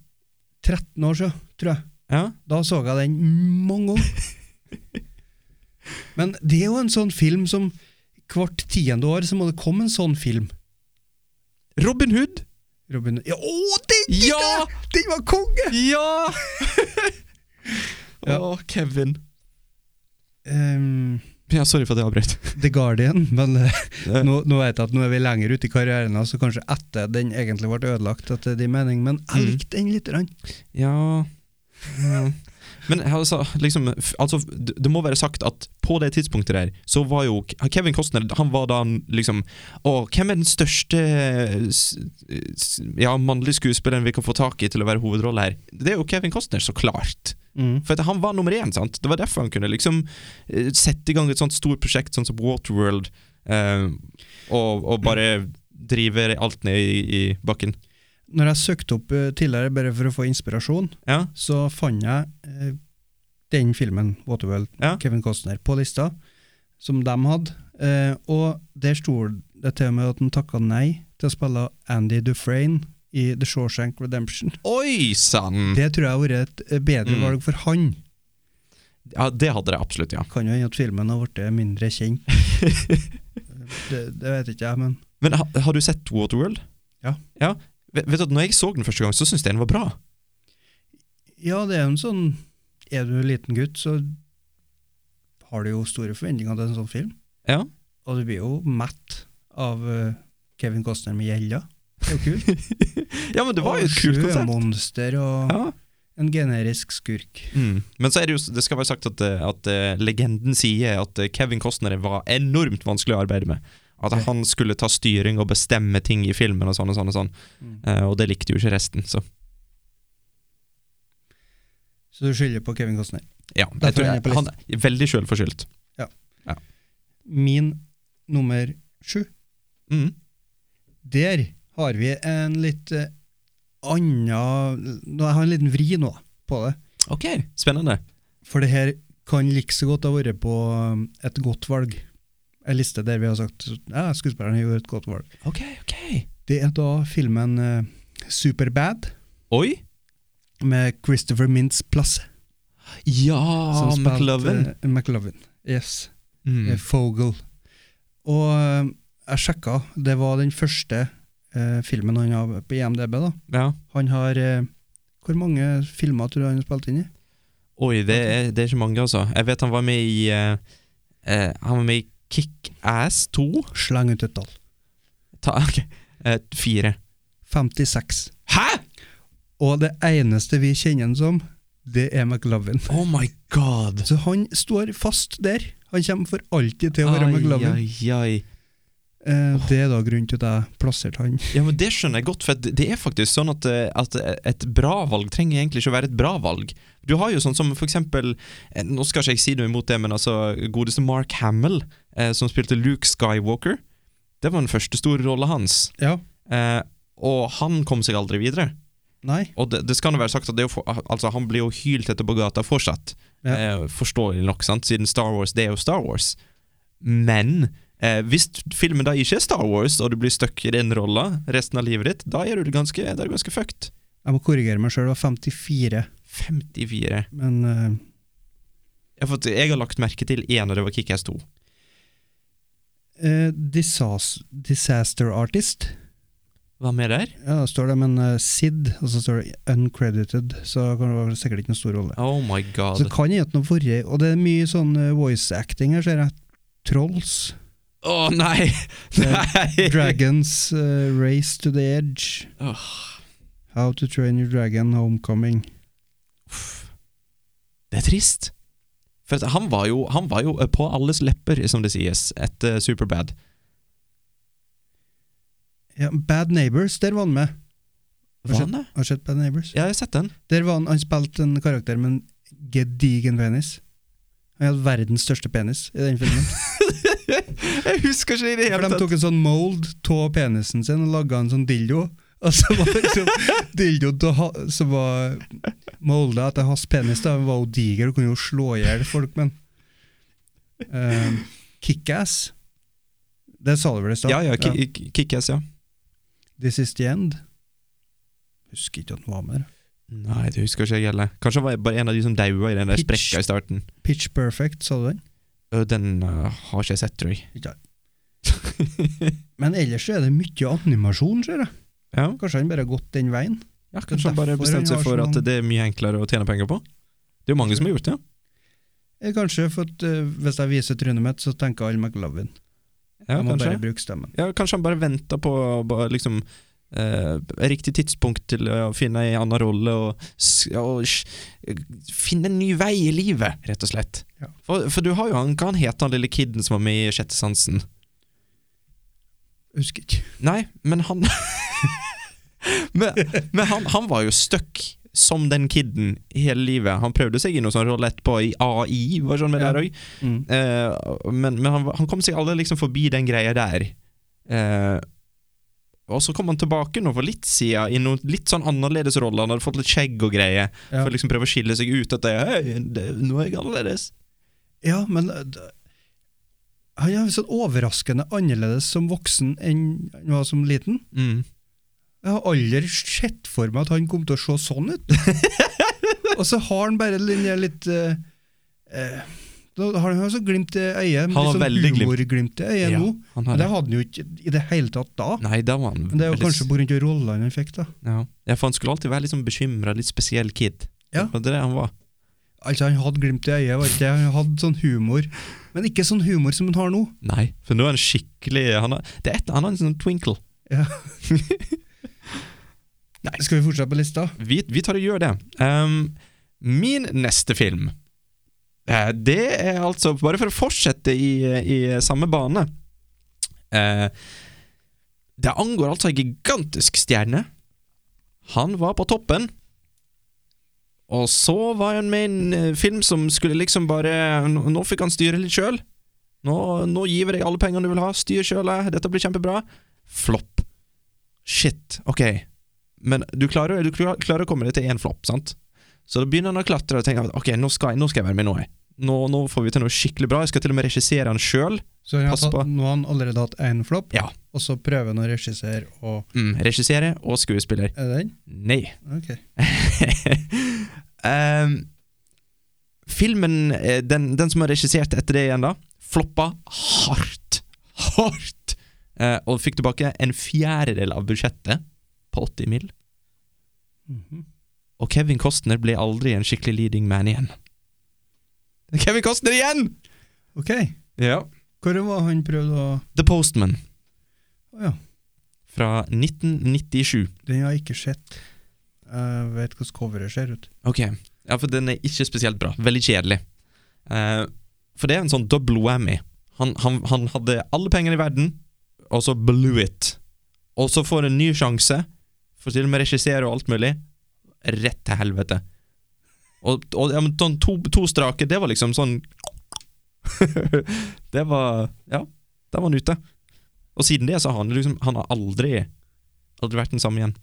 J: 13 år siden, tror jeg.
K: Ja.
J: Da så jeg den mange ganger. Men det er jo en sånn film som hvert tiende år så må det komme en sånn film.
K: Robin Hood!
J: Robin ja, Å, den liker
K: Ja!
J: jeg! Den var konge!
K: Ja!
J: Ja.
K: Å, Kevin.
J: Ehm,
K: Ja, sorry for at jeg avbrøt.
J: The Guardian, men eh,
K: Ja.
J: nå, nå vet jeg at nå er vi lenger ute i karrieren, så kanskje etter den egentlig ble ødelagt, at det er din mening, men jeg
K: Mm.
J: likte den litt. grann.
K: Ja Men altså, liksom, f- altså, d- det må være sagt at på det tidspunktet der, så var jo K- Kevin Costner Han var da en, liksom Å, hvem er den største eh, s- s- Ja, mannlige skuespilleren vi kan få tak i til å være hovedrolle her? Det er jo Kevin Costner, så klart. For at han var nummer én, sant? Det var derfor han kunne liksom eh, sette i gang et sånt stort prosjekt sånn som Waterworld, eh, og, og bare drive alt ned i, i bakken.
J: Når jeg søkte opp eh, tidligere bare for å få inspirasjon,
K: Ja,
J: så fant jeg eh, den filmen, Waterworld,
K: Ja.
J: Kevin Costner, på lista, som de hadde. Eh, og der sto det til og med at han takka nei til å spille Andy Dufresne i The Shawshank Redemption.
K: Oi sann!
J: Det tror jeg har vært et eh, bedre
K: Mm.
J: valg for han.
K: Ja, det hadde det absolutt, ja.
J: Kan jo hende at filmen har blitt mindre kjent. det, det vet ikke jeg, men
K: Men ha, har du sett Waterworld?
J: Ja.
K: Vet, vet du at når jeg så den første gang, så syntes jeg den var bra.
J: Ja, det er jo en sånn Er du en liten gutt, så har du jo store forventninger til en sånn film.
K: Ja.
J: Og du blir jo mett av eh, Kevin Costner med gjelda. Det er jo kult.
K: Ja, men det var jo et
J: Og
K: kult konsept.
J: Sjømonster og
K: Ja.
J: en generisk skurk.
K: Mm. Men så er det jo, det skal være sagt at, eh, at eh, legenden sier at eh, Kevin Costner var enormt vanskelig å arbeide med. At han skulle ta styring og bestemme ting i filmen og sånn og sånn. Og sånn. Eh, og det likte jo ikke resten, så
J: Så du skylder på Kevin Costner.
K: ja.
J: Derfor
K: Jeg tror
J: er
K: jeg,
J: han på
K: han er veldig sjølforskyldt.
J: Min nummer sju.
K: Mm.
J: Der har vi en litt uh, anna Nå, Jeg har en liten vri nå på det.
K: Ok, spennende.
J: For det her kan like så godt ha vært på um, et godt valg. En liste der vi har sagt ja, skuespilleren gjorde et godt valg.
K: OK, OK.
J: Det er da filmen eh, Superbad
K: Oi!
J: med Christopher Mintz Plass. eh,
K: Ja, eh, McLoven.
J: McLovin. Yes.
K: Ah, Mm.
J: eh, Fogel. Og eh, jeg sjekka, det var den første eh, filmen han har på IMDb. da.
K: Ja.
J: Han har eh, Hvor mange filmer tror du han har spilt inn i?
K: Oi, det er, det er ikke mange, altså. Jeg vet han var med i eh, eh, Han var med i Kick-Ass 2.
J: Sleng ut et tall.
K: Ta, ok. Eh, fire.
J: 56.
K: Hæ?!
J: Og det eneste vi kjenner han som, det er McLovin.
K: Oh my god!
J: Så han står fast der. Han kommer for alltid til å være
K: Ai,
J: McLovin.
K: ai, ai.
J: Eh, det er da grunnen til at jeg plasserte han.
K: Ja, men Det skjønner jeg godt, for det det er faktisk sånn at, eh, at et bra valg trenger egentlig ikke å være et bra valg. Du har jo sånn som for eksempel eh, Nå skal ikke jeg si noe imot det, men altså godeste Mark Hamill, eh, som spilte Luke Skywalker, det var den første store rolla hans.
J: Ja.
K: Eh, og han kom seg aldri videre.
J: Nei.
K: Og det, det skal nå være sagt at det å få, altså, han blir jo hylt etter på gata fortsatt.
J: Ja.
K: Eh, forståelig nok, sant? siden Star Wars det er jo Star Wars. Men eh, hvis filmen da ikke er Star Wars, og du blir stuck i den rolla resten av livet ditt, da er du ganske, da er du ganske fucked.
J: Jeg må korrigere meg sjøl, det var 54,
K: 54.
J: men eh,
K: Jeg har, fått, jeg har lagt merke til én, og det var Kick-Ass 2.
J: eh, disas Disaster Artist.
K: Hva med der?
J: Ja, da står det, men eh, SID, og så står det uncredited, så kan det være sikkert ikke noen stor rolle.
K: Oh my
J: Så
K: god.
J: det kan ikke noe forrige, og det er mye sånn eh, voice acting her, ser jeg. Trolls,
K: Å nei! Nei!
J: Dragons, eh, Race to the Edge,
K: Åh,
J: How to Train Your Dragon, Homecoming.
K: uff. Det er trist. For at han var jo, han var jo eh, på alles lepper, som det sies, etter Superbad.
J: Ja, Bad Neighbors, der var han med.
K: Var han det?
J: Har du sett Bad Neighbors?
K: Ja, jeg har sett den.
J: Der var han, han spilte en karakter med en gedigen penis. Han hadde verdens største penis i den filmen.
K: Jeg husker ikke i det
J: For
K: hele
J: de
K: tatt.
J: tok en sånn mold av penisen sin og laga en sånn dildo. Og så var det liksom dildo til ha- som var molda etter hans penis. Da Han var jo diger og kunne jo slå i hjel folk, men um, Kickass Det sa du vel i stad?
K: Ja, ja, ki- ki- Kick-Ass, ja.
J: This is the end. Husker ikke at han var med. der.
K: Nei, det husker ikke jeg heller. Kanskje han var bare en av de som daua i den der
J: Pitch.
K: sprekka i starten.
J: Pitch Perfect, sa du den?
K: Ø, Den øh, har ikke jeg sett, tror jeg.
J: Ikke jeg. Men ellers så er det mye animasjon, ser jeg.
K: Ja,
J: Kanskje han bare har gått den veien?
K: ja Kanskje han bare
J: Derfor
K: bestemte seg
J: han har
K: for at
J: sånn-
K: det er mye enklere å tjene penger på? Det er jo mange som har gjort det.
J: Eh, Kanskje, for at, eh, hvis jeg viser trynet mitt, så tenker alle McLovin.
K: Ja,
J: jeg må
K: kanskje.
J: bare bruke stemmen.
K: Ja, kanskje han bare venta på å bare liksom eh, riktig tidspunkt til å finne ei anna rolle og, s- og s- finne en ny vei i livet, rett og slett.
J: Ja.
K: For, for du har jo han, hva han het han lille kiden som var med i Sjette sansen?
J: Husker ikke.
K: Nei, men han Men, men han, han var jo stuck som den kiden hele livet. Han prøvde seg i noe sånn rolle etterpå, i AI, var sånn med
J: Ja.
K: der òg.
J: Mm.
K: men men han, var- han kom seg aldri liksom forbi den greia der. Eh, og så kom han tilbake nå for litt siden, i noen litt sånn annerledes rolle. Han hadde fått litt skjegg og greier,
J: Ja.
K: for liksom prøve å skille seg ut. At det, «Hei, det, nå er jeg annerledes.
J: ja, men eh, d- han er sånn overraskende annerledes som voksen enn han var som liten.
K: Mm.
J: Jeg har aldri sett for meg at han kom til å se sånn ut. Og så har han bare den der litt eh, eh, da har Han har så glimt i øyet,
K: Han har
J: litt
K: veldig
J: sånn
K: glimt.
J: humorglimt i øyet
K: Ja,
J: nå.
K: han har
J: Men det
K: det.
J: hadde han jo ikke i det hele tatt da.
K: Nei, da var han
J: Men det er jo
K: veldig-
J: kanskje pga. rollene han fikk, da.
K: Ja. ja, for han skulle alltid være litt sånn bekymra, litt spesiell kid.
J: Ja.
K: Det var det han var.
J: Altså, han hadde glimt i øyet, var ikke det? Han hadde sånn humor. Men ikke sånn humor som han har nå.
K: Nei, for nå er han skikkelig han har, Det er et annet sånn twinkle.
J: Ja. Skal vi fortsette på lista?
K: Vi, vi tar og gjør det. Ehm, min neste film eh, Det er altså Bare for å fortsette i, i samme bane eh, Det angår altså en gigantisk stjerne. Han var på toppen. Og så var han med i en eh, film som skulle liksom bare Nå nå fikk han styre litt sjøl. Nå, nå gir vi deg alle pengene du vil ha. Styr sjøl, dette blir kjempebra. Flopp. Shit. Ok. Men du klarer, du klar- klarer å komme deg til én flopp, sant? Så da begynner han å klatre og tenker at ok, nå skal jeg, nå skal jeg være med, nå. Jeg. Nå, nå får vi til noe skikkelig bra. Jeg skal til og med regissere han sjøl.
J: Så han har
K: Pass
J: tatt,
K: på.
J: nå har han allerede hatt én flopp,
K: Ja.
J: og så prøver han å regissere og
K: Mm, regissere og skuespiller.
J: Er det den?
K: Nei.
J: Ok.
K: Ehm, filmen, eh, den, den som har regissert etter det igjen da, floppa hardt. Hardt! Eh, og fikk tilbake en fjerdedel av budsjettet på 80 mill.
J: Mhm.
K: Og Kevin Costner ble aldri en skikkelig leading man igjen. Det er Kevin Costner igjen!
J: Ok. Hvor var han prøvde å
K: The Postman
J: Å ja,
K: fra 1997.
J: den har jeg ikke sett. Jeg vet hvordan coveret ser ut.
K: Ok, ja, for den er ikke spesielt bra. Veldig kjedelig. Eh, for det er en sånn double whammy. Han, han, han hadde alle penger i verden, og så blew it. Og så får en ny sjanse, får til og med regissere og alt mulig, rett til helvete. Og, og ja, men sånn to, to strake, det var liksom sånn Det var Ja, der var han ute. Og siden det så har han liksom Han har aldri Aldri vært den samme igjen.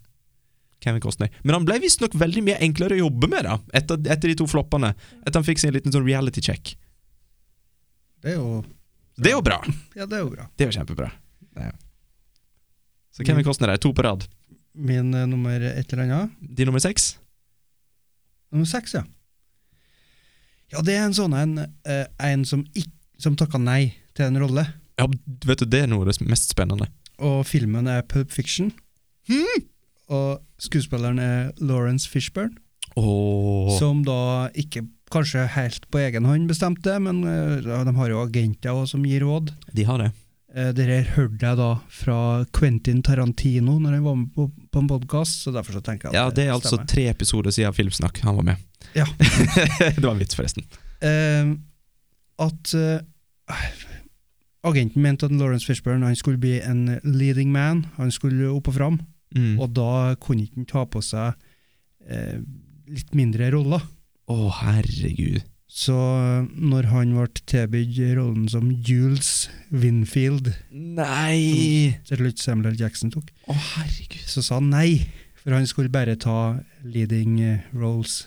K: Kevin Costner. Men han ble visstnok veldig mye enklere å jobbe med da, etter, etter de to floppene. Etter han fikk sin liten sånn reality check.
J: Det er jo
K: Det er jo bra!
J: Ja, det er jo bra.
K: Det er jo kjempebra. Det er jo. Så Kevin Costner er to på rad.
J: Min eh, nummer et eller annet
K: De nummer seks.
J: Nummer seks, ja. Ja, det er en sånn en, eh, en som, ikk- som takka nei til en rolle.
K: Ja, vet du, det er noe av det mest spennende.
J: Og filmen er Pulp Fiction.
K: Hmm!
J: Og skuespilleren er Lawrence Fishburne,
K: Åh.
J: som da ikke kanskje helt på egen hånd bestemte det, men eh, ja, de har jo agenter også som gir råd.
K: De har det.
J: Eh, Det her hørte jeg da fra Quentin Tarantino når han var med på, på en podkast, så derfor så tenker jeg at
K: Ja, det er altså
J: stemmer.
K: tre episoder siden Filmsnakk han var med.
J: Ja.
K: det var en vits, forresten.
J: Eh, at eh, agenten mente at Lawrence Fishburne han skulle bli en leading man, han skulle opp og fram,
K: Mm. Å,
J: og da kunne ikke han ta på seg eh, litt mindre roller.
K: herregud.
J: Så eh, når han ble tilbudt rollen som Jules Winfield,
K: Nei!
J: til slutt Samuel L. Jackson tok,
K: Å, herregud.
J: så sa han nei, for han skulle bare ta leading eh, roles.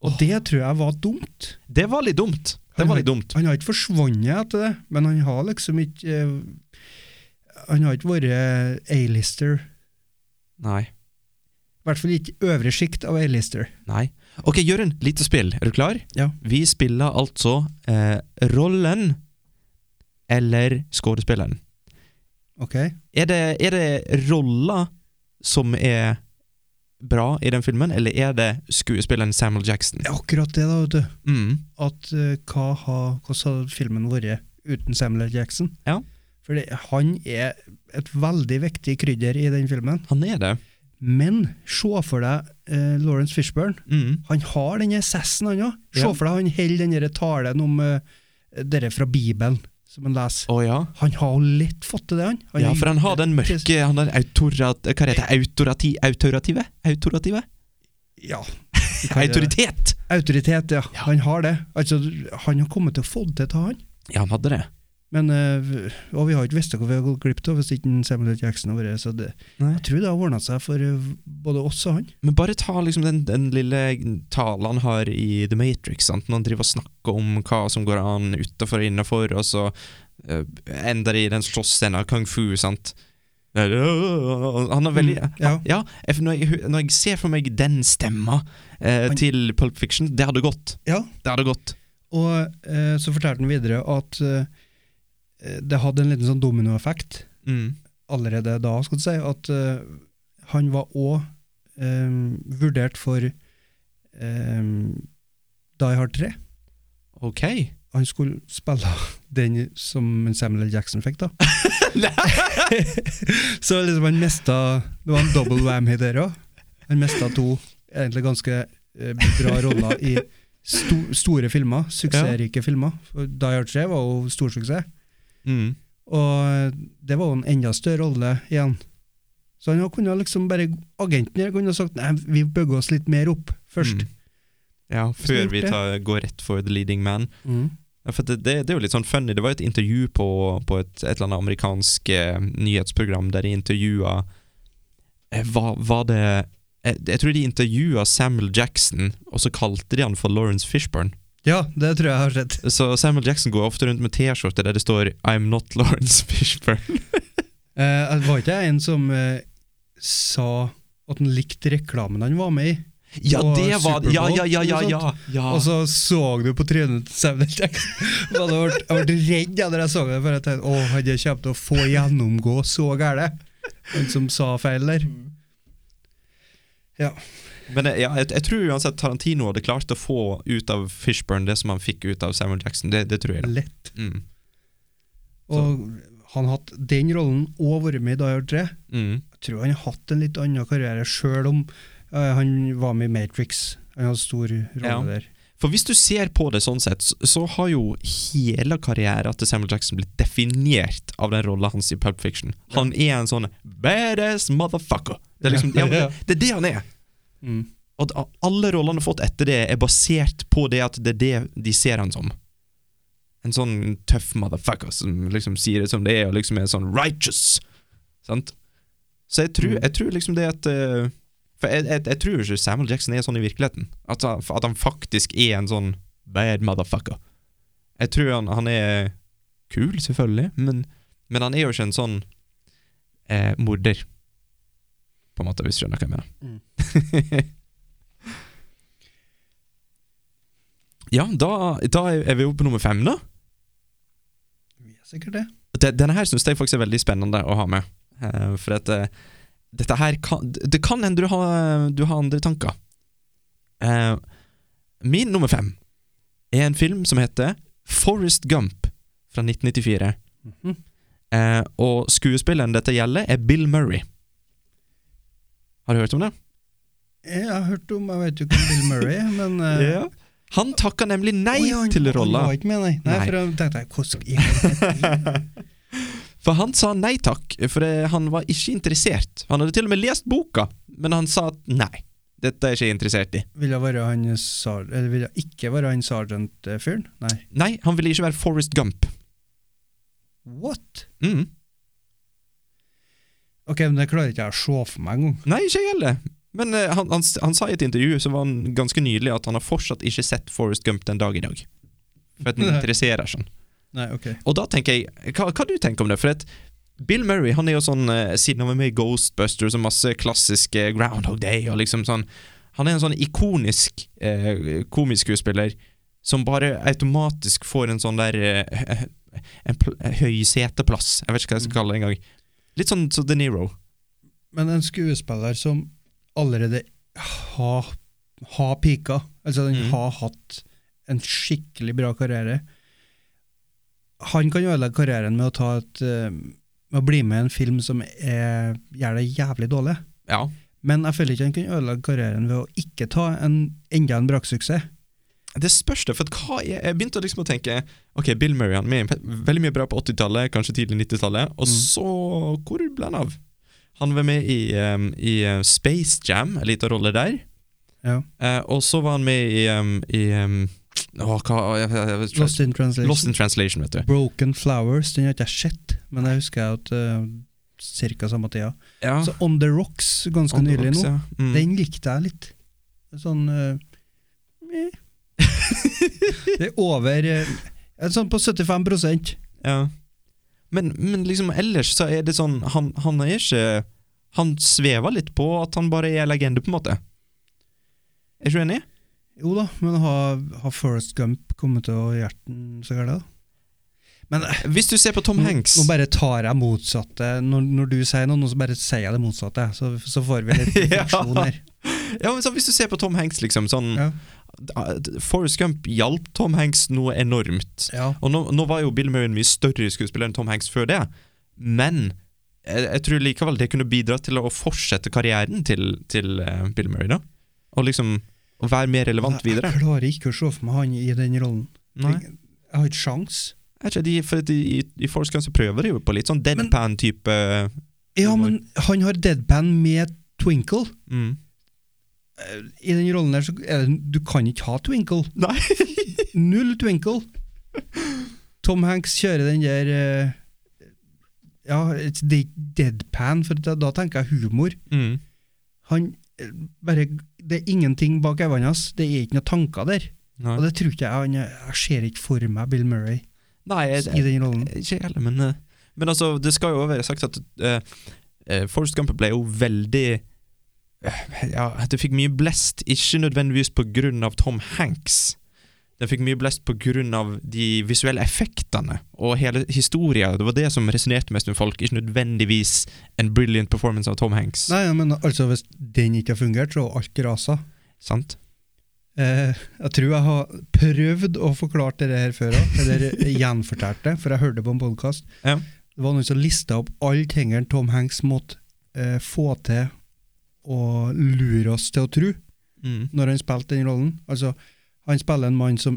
J: Og det tror jeg var dumt.
K: Det var litt dumt. Det
J: Han
K: var
J: har-
K: litt dumt.
J: Han har ikke forsvunnet etter det, men han har liksom ikke eh, Han har ikke vært A-lister.
K: Nei.
J: I hvert fall ikke øvre sjikt av A-lister.
K: Nei. Ok, Jørund, lite spill. Er du klar?
J: Ja.
K: Vi spiller altså eh, rollen eller skuespilleren.
J: Ok?
K: Er det, er det rolla som er bra i den filmen, eller er det skuespilleren Samuel Jackson?
J: Det er akkurat det, da, vet du.
K: Mm.
J: At eh, hva har, Hvordan hadde filmen vært uten Samuel L. Jackson?
K: Ja.
J: For det, han er et veldig viktig krydder i den filmen.
K: Han er det.
J: Men se for deg eh, Lawrence Fishburne.
K: Mm.
J: Han har den SS-en, han òg. Se
K: Ja.
J: for deg han holder den der talen om eh, dere fra Bibelen, som han leser.
K: Å ja.
J: Han har jo lett fått til det, han. han
K: Ja, for han har den
J: til-
K: mørke Han har autorat... Hva heter det? Autorati, autorative? Autorative?
J: Ja.
K: Autoritet!
J: Autoritet, ja. Han har det. Altså, han har kommet til å få det til, han.
K: Ja, han hadde det.
J: Men, eh, og vi har ikke visst hva vi har gått glipp av hvis ikke Samuel L. Jackson har vært så det.
K: Nei.
J: Jeg tror det har ordna seg for eh, både oss og han.
K: Men bare ta liksom den, den lille talen han har i The Matrix, sant? når han driver og snakker om hva som går an utafor og innafor, og så eh, ender det i den slåssscenen av kung fu, sant. Han har veldig
J: Mm, ja.
K: ja jeg- når, jeg, hu- når jeg ser for meg den stemma eh,
J: Han-
K: til Pulp Fiction, det hadde gått.
J: Ja.
K: Det hadde gått.
J: Og eh, så fortalte han videre at eh, det hadde en liten sånn dominoeffekt
K: Mm.
J: allerede da, skal du si, at eh, han var òg vurdert for eh, Die Hard 3.
K: Ok.
J: han skulle spille den som Samuel L. Jackson fikk, da. så liksom han mista Det var en double whammy der òg. Han mista to egentlig ganske eh, bra roller i sto, store filmer, suksessrike filmer. For Die Hard 3 var jo stor suksess,
K: Mm.
J: og eh, det var jo en enda større rolle igjen. Så han kunne liksom bare Agenten her kunne sagt nei, vi bygger oss litt mer opp først.
K: Mm. Ja,
J: vi
K: før
J: gjort
K: vi
J: det?
K: tar, går rett for The Leading Man.
J: Mm.
K: Ja, for det, det, det er jo litt sånn funny. Det var jo et intervju på, på et, et eller annet amerikansk eh, nyhetsprogram der de intervjua eh, var, var det Jeg, jeg tror de intervjua Samuel Jackson, og så kalte de han for Lawrence Fishburne.
J: Ja, det tror jeg jeg har sett.
K: Så Samuel Jackson går ofte rundt med T-skjorte der det står 'I'm not Lawrence Fishburne'.
J: Eh, var ikke jeg en som eh, sa at han likte reklamen han var med i?
K: Ja,
J: Og
K: det var
J: Superbowl,
K: Ja, ja, ja, ja,
J: eller
K: ja,
J: sånt.
K: ja.
J: Og så så du på trynet til Samuel Jackson. Og da hadde Jeg ble- jeg ble redd da jeg så det, for jeg tenkte å, han der kommer til å få gjennomgå så gæle. Han som sa feil der.
K: Mm.
J: Ja.
K: Men eh, ja, jeg, jeg tror uansett Tarantino hadde klart å få ut av Fishburne det som han fikk ut av Samuel Jackson. Det, det tror jeg. da.
J: Lett.
K: Mm.
J: Og han har hatt den rollen og vært med i Die Hard 3.
K: Mm.
J: Jeg tror han har hatt en litt annen karriere, sjøl om eh, han var med i Matrix. Han hadde stor rolle
K: Ja.
J: der.
K: For hvis du ser på det sånn sett, så- så har jo hele karrieren til Samuel Jackson blitt definert av den rolla hans i Pulp Fiction. Han er en sånn badass motherfucker. Det er liksom, ja,
J: Ja.
K: men det, det er det han er.
J: Mm.
K: Og da- alle rollene han har fått etter det, er basert på det at det er det de ser han som. En sånn tøff motherfucker som liksom sier det som det er, og liksom er sånn righteous. Sant? Så jeg tror, jeg tror liksom det at eh, For jeg, jeg, jeg tror ikke Samuel Jackson er sånn i virkeligheten. At han, at han faktisk er en sånn bad motherfucker. Jeg tror han, han er kul, selvfølgelig, men, men han er jo ikke en sånn eh, morder. På en måte, hvis du skjønner hva jeg mener. Ja, da, da er vi jo på nummer fem, da.
J: Vi er sikkert det.
K: Det- Denne her syns jeg faktisk er veldig spennende å ha med. Eh, For at eh, dette her kan Det kan hende du har, du har andre tanker. Eh, Min nummer fem er en film som heter Forrest Gump fra 1994.
J: Mhm.
K: Eh, Og skuespilleren dette gjelder, er Bill Murray. Har du hørt om det?
J: Jeg har hørt om Jeg vet jo ikke om Bill Murray, men eh,
K: Han takka nemlig nei
J: Oi, han-
K: til rolla.
J: Han var ikke med, nei. nei,
K: Nei.
J: For jeg tenkte jeg, hvordan i helvete?
K: For han sa nei takk, for det, han var ikke interessert. Han hadde til og med lest boka, men han sa at nei, dette er jeg ikke interessert i.
J: Vil jeg være han sar- Eller vil jeg ikke være han sergeant-fyren? Nei.
K: Nei, han ville ikke være Forrest Gump.
J: What?
K: Mm.
J: Ok, men det klarer ikke jeg å se for meg engang.
K: Nei, ikke jeg heller. Men eh, han, han, han sa i et intervju som var han ganske nydelig, at han har fortsatt ikke sett Forrest Gump den dag i dag. For at den interesserer sånn. seg.
J: Nei, ok.
K: Og da tenker jeg, hva, hva du tenker om det? For at Bill Murray han er jo sånn, eh, siden han var med i Ghostbusters og masse klassiske Groundhog Day og liksom sånn Han er en sånn ikonisk eh, komisk skuespiller som bare automatisk får en sånn der eh, En pl høy seteplass. Jeg vet ikke hva jeg skal kalle det engang. Litt sånn som De Niro.
J: Men en skuespiller som allerede har ha pika, altså den
K: Mm.
J: har hatt en skikkelig bra karriere Han kan ødelegge karrieren med å, ta et, eh, med å bli med i en film som er, gjør det jævlig dårlig.
K: Ja.
J: Men jeg føler ikke han kan ødelegge karrieren ved å ikke ta en, enda en braksuksess.
K: Det spørs det, for at hva er, jeg begynte liksom å tenke Ok, Bill Murray han er med i veldig mye bra på 80-tallet, kanskje tidlig 90-tallet, og
J: Mm.
K: så Hvor ble han av? Han var med i, um, i uh, Space Jam, en liten rolle der.
J: Ja.
K: Eh, og så var han med i, um, i um, åh, hva, jeg, jeg, jeg,
J: Lost in Translation.
K: Lost in Translation, vet du.
J: Broken Flowers, den har ikke jeg sett, men jeg husker at uh, ca. samme tida.
K: Ja,
J: Så On The Rocks, ganske
K: Ah. On the
J: nylig
K: Rocks,
J: nå,
K: ja. Mm.
J: den likte jeg litt. Sånn eh, meh. Det er over eh, Sånn på 75
K: Ja. Men, men liksom ellers så er det sånn Han, han er ikke Han svever litt på at han bare er legende, på en måte. Er ikke du enig?
J: Jo da, men har, har Forrest Gump kommet til å gjøre den så gærent, da? Men eh,
K: Hvis du ser på Tom Hanks
J: Nå bare tar jeg motsatte. Når, når du sier noe, nå så bare sier jeg det motsatte. Så, så får vi litt
K: Ja.
J: friksjon her.
K: Ja, men så Hvis du ser på Tom Hanks, liksom sånn
J: Ja.
K: Forrest Gump hjalp Tom Hanks noe enormt.
J: Ja.
K: Og nå, nå var jo Bill Murray en mye større skuespiller enn Tom Hanks før det, men jeg, jeg tror likevel det kunne bidra til å fortsette karrieren til, til eh, Bill Murray, da. Og liksom å være mer relevant videre.
J: Jeg klarer ikke å se for meg han i den rollen.
K: Nei.
J: Jeg, jeg har ikke sjans.
K: Er ikke de, for de, i, I Forrest Gump så prøver de jo på litt sånn deadpan-type
J: Ja, men han har deadpan med twinkle.
K: mm.
J: I den rollen der så er det Du kan ikke ha twinkle.
K: Nei.
J: Null twinkle. Tom Hanks kjører den der eh, Ja, det er ikke deadpan, for da, da tenker jeg humor.
K: Mm.
J: Han eh, bare, det er ingenting bak øynene hans. Det er ikke noen tanker der.
K: Nei.
J: Og det tror ikke jeg han Jeg ser ikke for meg Bill Murray
K: Nei, jeg,
J: i den rollen.
K: Ikke jeg heller, men eh, Men altså, det skal jo være sagt at eh, eh, Forrest Gump ble jo veldig eh, Ja, det fikk mye blest, ikke nødvendigvis på grunn av Tom Hanks. Den fikk mye blest på grunn av de visuelle effektene og hele historia. Det var det som resonnerte mest med folk, ikke nødvendigvis en brilliant performance av Tom Hanks.
J: Nei, men altså, hvis den ikke har fungert, så har alt rasa.
K: Sant?
J: Eh, jeg tror jeg har prøvd å forklare det her før òg, eller gjenfortalt det, for jeg hørte det på en podkast.
K: Ja.
J: Det var noen som lista opp alle tingene Tom Hanks måtte eh, få til å lure oss til å tro
K: Mm.
J: når han spilte den rollen. Altså, han spiller en mann som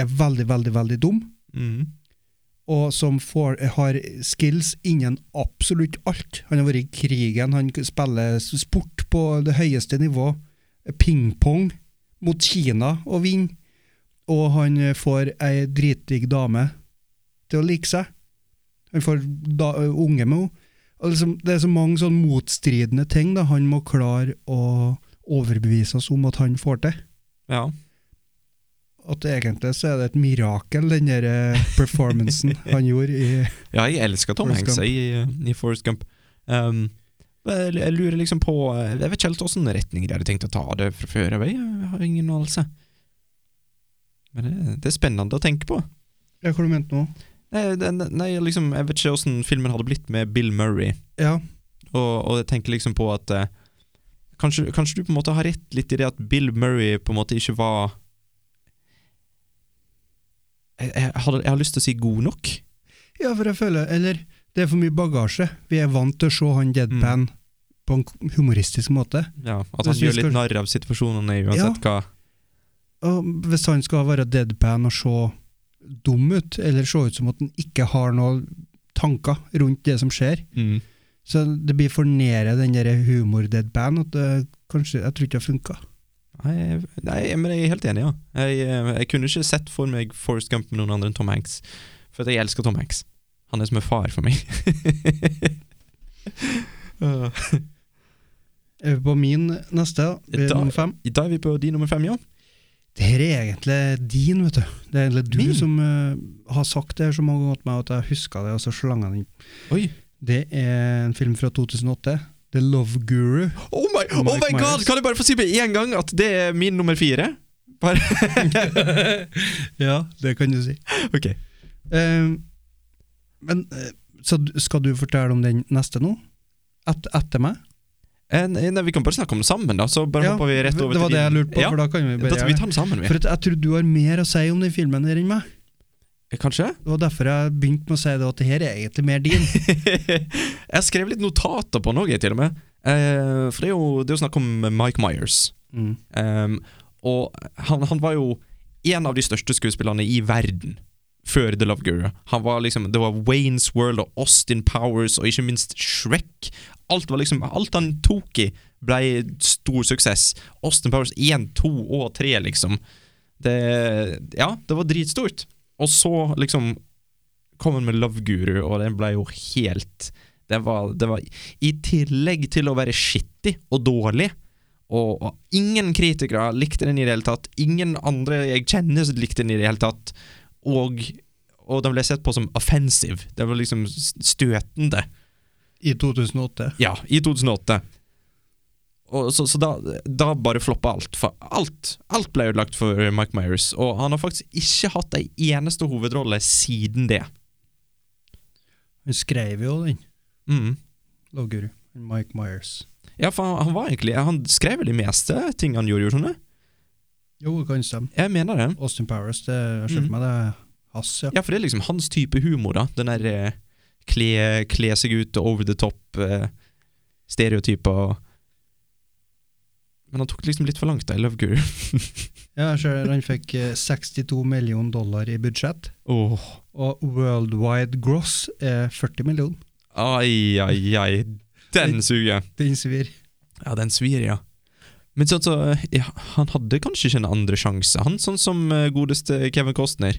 J: er veldig, veldig, veldig dum,
K: Mm.
J: og som får, har skills innen absolutt alt. Han har vært i krigen, han spiller sport på det høyeste nivå, pingpong mot Kina og vinner, og han eh, får ei dritdigg dame til å like seg. Han får da, unge med henne. Og Liksom, det er så mange sånn motstridende ting da. han må klare å overbevise oss om at han får til
K: Ja.
J: at egentlig så er det et mirakel, den der eh, performancen han gjorde i
K: Ja, jeg elsker Tom
J: Forrest
K: Hanks
J: Gump.
K: jeg, eh, i, i Forrest Gump. Um, jeg jeg lurer liksom på Jeg vet ikke helt åssen retning de hadde tenkt å ta det fra før av. Jeg har ingen anelse. Men det, det er spennende å tenke på.
J: Ja, hva du mente nå?
K: Nei, det, nei liksom, jeg vet ikke åssen filmen hadde blitt med Bill Murray.
J: Ja,
K: Og, og jeg tenker liksom på at eh, kanskje, kanskje du på en måte har rett litt i det at Bill Murray på en måte ikke var Jeg, jeg, hadde, jeg har lyst til å si god nok.
J: ja for jeg føler Eller, det er for mye bagasje. Vi er vant til å se han deadpan på en k- humoristisk måte.
K: Ja, At han
J: Jeg synes
K: gjør litt
J: kanskje-
K: narr av situasjonene uansett hva.
J: Og hvis han skal være deadpan og se dum ut, eller se ut som at han ikke har noen tanker rundt det som skjer,
K: Mm.
J: så det blir for nære den der humor-deadpan at det kanskje Jeg tror ikke det funka.
K: Nei, nei, men jeg er helt enig, ja. Jeg, eh, jeg kunne ikke sett for meg Forrest Gump med noen andre enn Tom Hanks. For at jeg elsker Tom Hanks. Han er som en far for meg. Uh,
J: Er vi På min neste, da, blir det
K: Da-
J: nummer fem.
K: da er vi på din nummer fem, ja.
J: Det her er egentlig din, vet du. Det er egentlig du
K: Min?
J: som eh, har sagt det her så mange ganger til meg at jeg huska det, og så slanga den.
K: Oi.
J: Det er en film fra 2008. The Love Guru.
K: Oh my, oh
J: Mike
K: my god!
J: Myers.
K: Kan jeg bare få si med en gang at det er min nummer fire? Bare
J: Ja, det kan du si.
K: Ok.
J: Eh, men eh, så du- skal du fortelle om den neste nå? Et, etter meg?
K: Eh, nei, nei, vi kan bare snakke om den sammen, da. Så bare
J: Ja,
K: hopper vi rett over
J: det var
K: til
J: det jeg
K: din.
J: lurte på,
K: Ja,
J: for da kan vi bare
K: da,
J: gjøre
K: vi
J: det.
K: tar den sammen, vi.
J: For at jeg tror du har mer å si om den filmen her enn meg.
K: Kanskje?
J: Det var derfor jeg begynte med å si det, at det her er egentlig mer din.
K: jeg skrev litt notater på noe, til og med. Eh, for det er, jo, det er jo snakk om Mike Myers.
J: Mm.
K: Ehm, og han, han var jo en av de største skuespillerne i verden før The Love Guru. Han var liksom, det var Waynes World og Austin Powers og ikke minst Shrek. Alt, var liksom, alt han tok i, ble stor suksess. Austin Powers 1, 2 og 3, liksom. Det, ja, det var dritstort. Og så liksom kom han med Love Guru, og den ble jo helt det var, det var I tillegg til å være skittig og dårlig, og, og ingen kritikere likte den i det hele tatt. Ingen andre jeg kjenner likte den i det hele tatt. Og, og den ble sett på som offensive. Det var liksom støtende.
J: I 2008.
K: Ja, i 2008. Og så så da, da bare floppa alt. For alt Alt ble ødelagt for Mike Myers. Og han har faktisk ikke hatt ei eneste hovedrolle siden det.
J: Han skrev jo den,
K: Mm.
J: Love Guru. Mike Myers.
K: Ja, for han, han var egentlig Han skrev vel de meste ting han gjorde, gjorde han det?
J: Jo, det kan stemme.
K: Jeg mener det.
J: Austin Powers, det jeg ser for
K: Mm.
J: meg det er Hass, ja.
K: Ja, for det er liksom hans type humor, da. Den der eh, kle, kle seg ut, over the top, eh, stereotyper. Men han tok det liksom litt for langt, da, i Love Guru.
J: ja jeg ser han fikk eh, 62 millioner dollar i budsjett,
K: Åh,
J: og worldwide gross er 40 millioner.
K: Ai, ai, ai. Den suger.
J: Den svir.
K: Ja, den svir, ja. Men sånn så, ja, han hadde kanskje ikke en andre sjanse, han, sånn som eh, godeste Kevin Costner.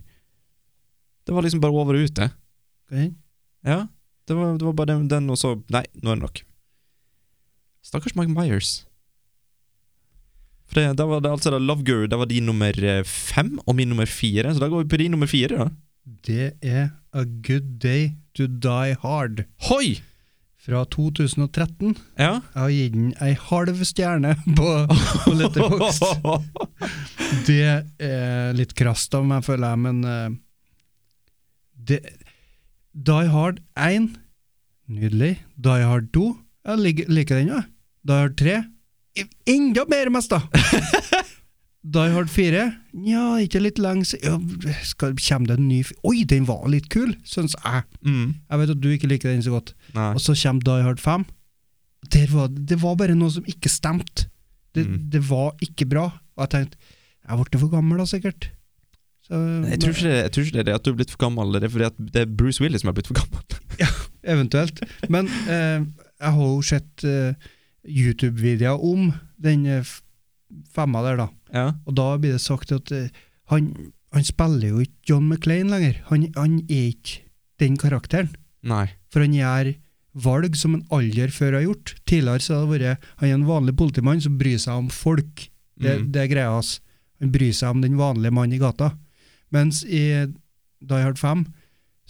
K: Det var liksom bare over og ute.
J: Kan hende.
K: Ja, det var, det var bare den, den, og så Nei, nå er det nok. Stakkars Mike Myers. For det, da var det altså da Love Guru da var de nummer eh, fem, og min nummer fire. Så da går vi på de nummer fire, da.
J: Det er A Good Day To Die Hard
K: Hoi!
J: fra 2013.
K: Ja.
J: Jeg har gitt den ei halv stjerne på, på Letterboxd. Det er litt krast av meg, føler jeg, men eh, det, Die Hard 1, nydelig. Die Hard 2, jeg liker, liker den, ja. Die Hard 3, i- enda mer mest, da! Die Hard 4, nja, ikke litt lenge siden ja, skal- Kommer det en ny f- Oi, den var litt kul, syns jeg.
K: Mm.
J: Jeg vet at du ikke liker den så godt.
K: Nei.
J: Og så kommer Die Hard 5. Der var, det var bare noe som ikke stemte. Det,
K: Mm.
J: det var ikke bra. Og jeg tenkte jeg ble for gammel da, sikkert. Så,
K: Jeg tror, ikke det, jeg tror ikke det er det at du er blitt for gammel, det er fordi at det er Bruce Willis som er blitt for gammel.
J: Eventuelt. Men eh, jeg har jo sett eh, YouTube-videoer om den eh, f- femma der, da.
K: Ja.
J: Og da blir det sagt at eh, han, han spiller jo ikke John McClain lenger. Han, han er ikke den karakteren.
K: Nei.
J: For han gjør valg som han aldri før har gjort. Tidligere så har det vært han er en vanlig politimann som bryr seg om folk. Det,
K: Mm.
J: det er greia hans. Han bryr seg om den vanlige mannen i gata. Mens i Die Hard 5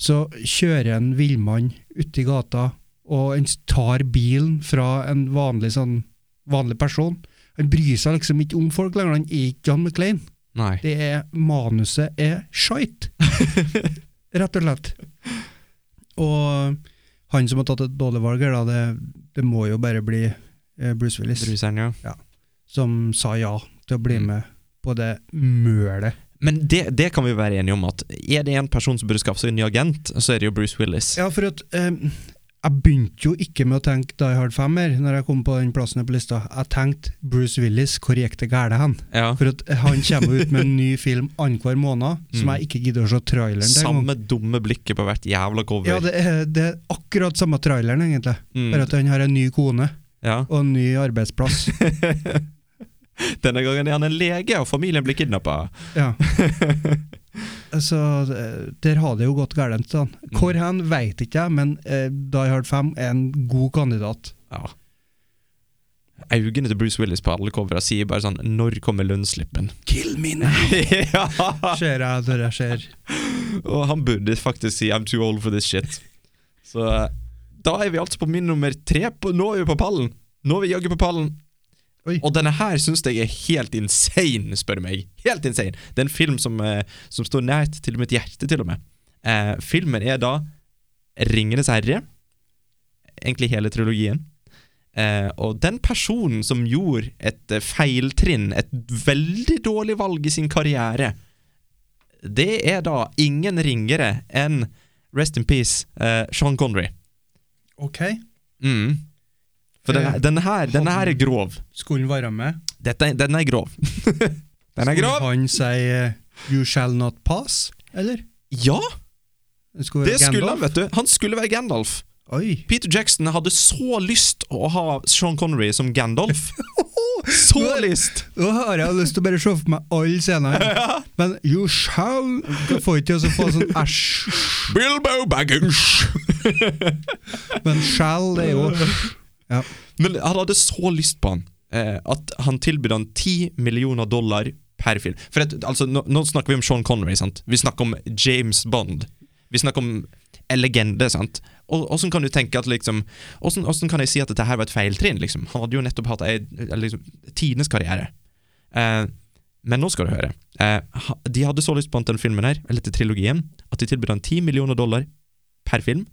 J: så kjører en villmann uti gata, og han tar bilen fra en vanlig, sånn, vanlig person. Han bryr seg liksom ikke om folk lenger. Han er ikke John McClain.
K: Nei.
J: Det er Manuset er skjøyt. Rett og slett. Og han som har tatt et dårlig valg her, da, det, det må jo bare bli eh, Bruce Willis,
K: Bruseren, ja.
J: som sa ja til å bli
K: Mm.
J: med på det mølet.
K: Men det, det kan vi jo være enige om, at er det en person som burde skaffe seg en ny agent, så er det jo Bruce Willis.
J: Ja, for at eh, jeg begynte jo ikke med å tenke Die Hard 5 her, når jeg kom på den plassen her på lista. Jeg tenkte Bruce Willis, hvor gikk det gærent hen?
K: Ja.
J: For at han kommer ut med en ny film annenhver måned,
K: Mm.
J: som jeg ikke gidder å se traileren til. engang.
K: Samme dumme blikket på hvert jævla cover.
J: Ja, det er, det er akkurat samme traileren, egentlig.
K: Mm.
J: Bare at han har en ny kone
K: Ja.
J: og en ny arbeidsplass.
K: Denne gangen er han en lege, og familien blir kidnappa.
J: ja. Så eh, der har det jo gått gærent. Sånn.
K: Mm.
J: Hvor hen, veit ikke jeg, men eh, Die Hard 5 er en god kandidat.
K: Ja. Øynene til Bruce Willis på alle covera sier bare sånn 'Når kommer lønnsslippen?' Kill me now! ja.
J: Ser jeg når jeg ser
K: Og han burde faktisk si 'I'm too old for this shit'. Så eh, da er vi altså på min nummer tre. På, nå er vi på pallen! Nå er vi jaggu på pallen.
J: Oi.
K: Og denne her syns jeg er helt insane, spør du meg. Helt insane. Det er en film som, eh, som står nært til mitt hjerte, til og med. Eh, filmen er da 'Ringenes herre'. Egentlig hele trilogien. Eh, og den personen som gjorde et eh, feiltrinn, et veldig dårlig valg i sin karriere, det er da ingen ringere enn Rest in Peace, eh, Sean Connery.
J: Ok, Eh,
K: Mm. For denne, denne, her, denne her er grov.
J: skulle han være med?
K: Dette, er- den er grov. den er
J: Skulle
K: grov!
J: han si eh, 'You shall not pass'? Eller?
K: Ja,
J: Skulle
K: det
J: være
K: skulle han,
J: Gandalf?
K: vet du. Han skulle være Gandalf.
J: Oi.
K: Peter Jackson hadde så lyst å ha Sean Connery som Gandalf. Så lyst!
J: Nå har jeg lyst til å bare se for meg alle scenene. Men you shall Du får ikke til å få sånn æsj.
K: Bilbo Baggins!
J: Men shall det er jo ja.
K: Men han hadde så lyst på han eh, at han tilbød han 10 millioner dollar per film. For at, altså, nå, nå snakker vi om Sean Connery, sant? Vi snakker om James Bond. Vi snakker om en legende, sant? Og Åssen kan du tenke at liksom Åssen åssen kan jeg si at dette her var et feiltrinn, liksom? Han hadde jo nettopp hatt ei eller liksom, tidenes karriere. Eh, men nå skal du høre. Eh, ha- de hadde så lyst på han til den filmen her, eller til trilogien, at de tilbød han 10 millioner dollar per film,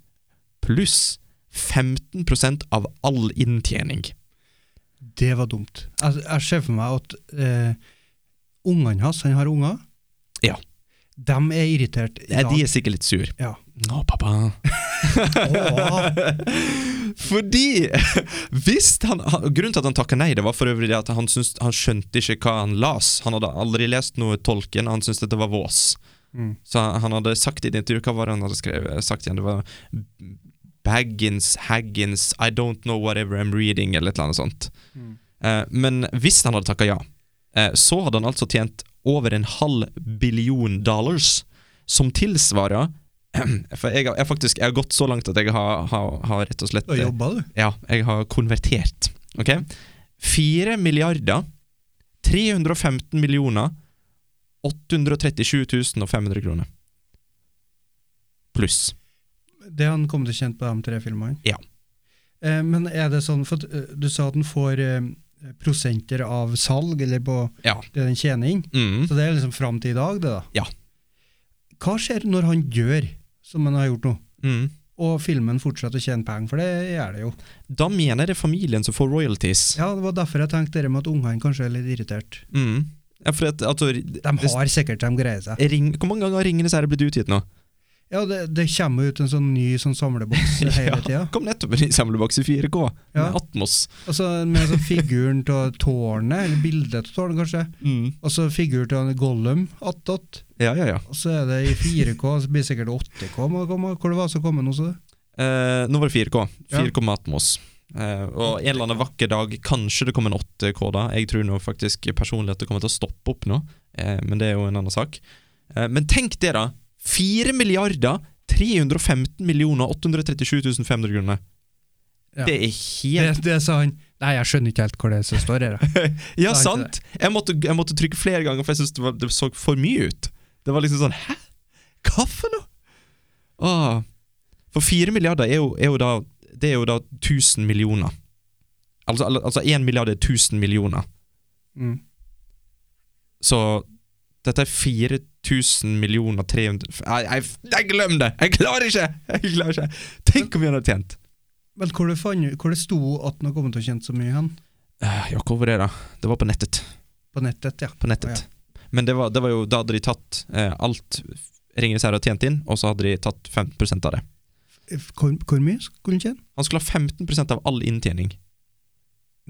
K: pluss 15 av all inntjening.
J: Det var dumt. Jeg, jeg ser for meg at eh, ungene hans Han har unger.
K: Ja.
J: De er irritert. i
K: Nei,
J: dag.
K: Eh, De er sikkert litt sur.
J: ja.
K: Nå, pappa.
J: Åh,
K: Fordi hvis han, han, Grunnen til at han takka nei, det var for øvrig det at han, syntes- han skjønte ikke hva han las. Han hadde aldri lest noe Tolkien, han syntes dette var vås.
J: Mm.
K: Så han, han hadde sagt i et intervju Hva var det han hadde skrevet, sagt igjen? Det var Baggins, Haggins, I don't know whatever I'm reading, eller et eller annet sånt. Eh, men hvis han hadde takka ja, eh, så hadde han altså tjent over en halv billion dollars, som tilsvarer For jeg har, jeg, har faktisk, jeg har gått så langt at jeg har, har, har rett og slett eh,
J: Du har jobba, du.
K: ja, jeg har konvertert. Ok? Fire milliarder 315 millioner 837 500 kroner. Pluss.
J: Det han kommer til å kjenne på de tre filmene?
K: Ja.
J: Eh, men er det sånn, for at, eh, du sa at den får eh, prosenter av salg, eller på
K: Ja.
J: det den tjener inn.
K: Mm.
J: Så det er liksom fram til i dag, det da.
K: Ja.
J: Hva skjer når han gjør som han har gjort nå,
K: Mm.
J: og filmen fortsetter å tjene penger, for det gjør det jo.
K: Da mener jeg det er familien som får royalties.
J: Ja, det var derfor jeg tenkte det med at ungene kanskje er litt irritert.
K: Mm. Ja, for at, altså,
J: De har sikkert de greier seg.
K: ring, Hvor mange ganger har 'Ringenes herre' blitt utgitt nå?
J: Ja, det, det kommer ut en sånn ny sånn samleboks hele tida.
K: Kom nettopp en ny samleboks i 4K,
J: Ja.
K: med Atmos.
J: Og så med sånn figuren av tårnet, eller bildet av tårnet kanskje, og så figur av Gollum attåt,
K: Ja, ja, ja.
J: og så er det i 4K, og så blir det sikkert 8K, må det komme. hvor det var som kom nå, så det.
K: Eh, nå var det 4K.
J: Ja.
K: 4K med Atmos. Eh, og en eller annen vakker dag, kanskje det kommer en 8K da. Jeg tror nå faktisk personlig at det kommer til å stoppe opp nå, eh, men det er jo en annen sak. Eh, men tenk det, da! 4 milliarder 315 millioner 837 500 kroner.
J: Ja.
K: Det er
J: Det,
K: helt
J: det sa han. Nei, jeg skjønner ikke helt hvor det er som står her. da.
K: Ja,
J: Nei,
K: sant! Jeg måtte, jeg måtte trykke flere ganger, for jeg syntes det, var- det så for mye ut. Det var liksom sånn Hæ? Hva for noe?! Åh. For fire milliarder er jo, er jo da Det er jo da 1000 millioner. Altså eller- altså, én milliard er 1000 millioner.
J: Mm.
K: Så dette er 4000 millioner 300 Nei, jeg, jeg glem det! Jeg klarer ikke! Jeg klarer ikke Tenk hvor mye han har tjent!
J: Men hvor det, fant- hvor det sto at den har kommet til å kjenne så mye hen?
K: Eh, Ja, hvor var det, da? Det var på nettet.
J: På nettet, ja.
K: på nettet. Men det var, det var jo, da hadde de tatt eh, alt Ringenes herre hadde tjent inn, og så hadde de tatt 15 av det.
J: Hvor, hvor mye skulle den tjene?
K: Han skulle ha 15 av all inntjening.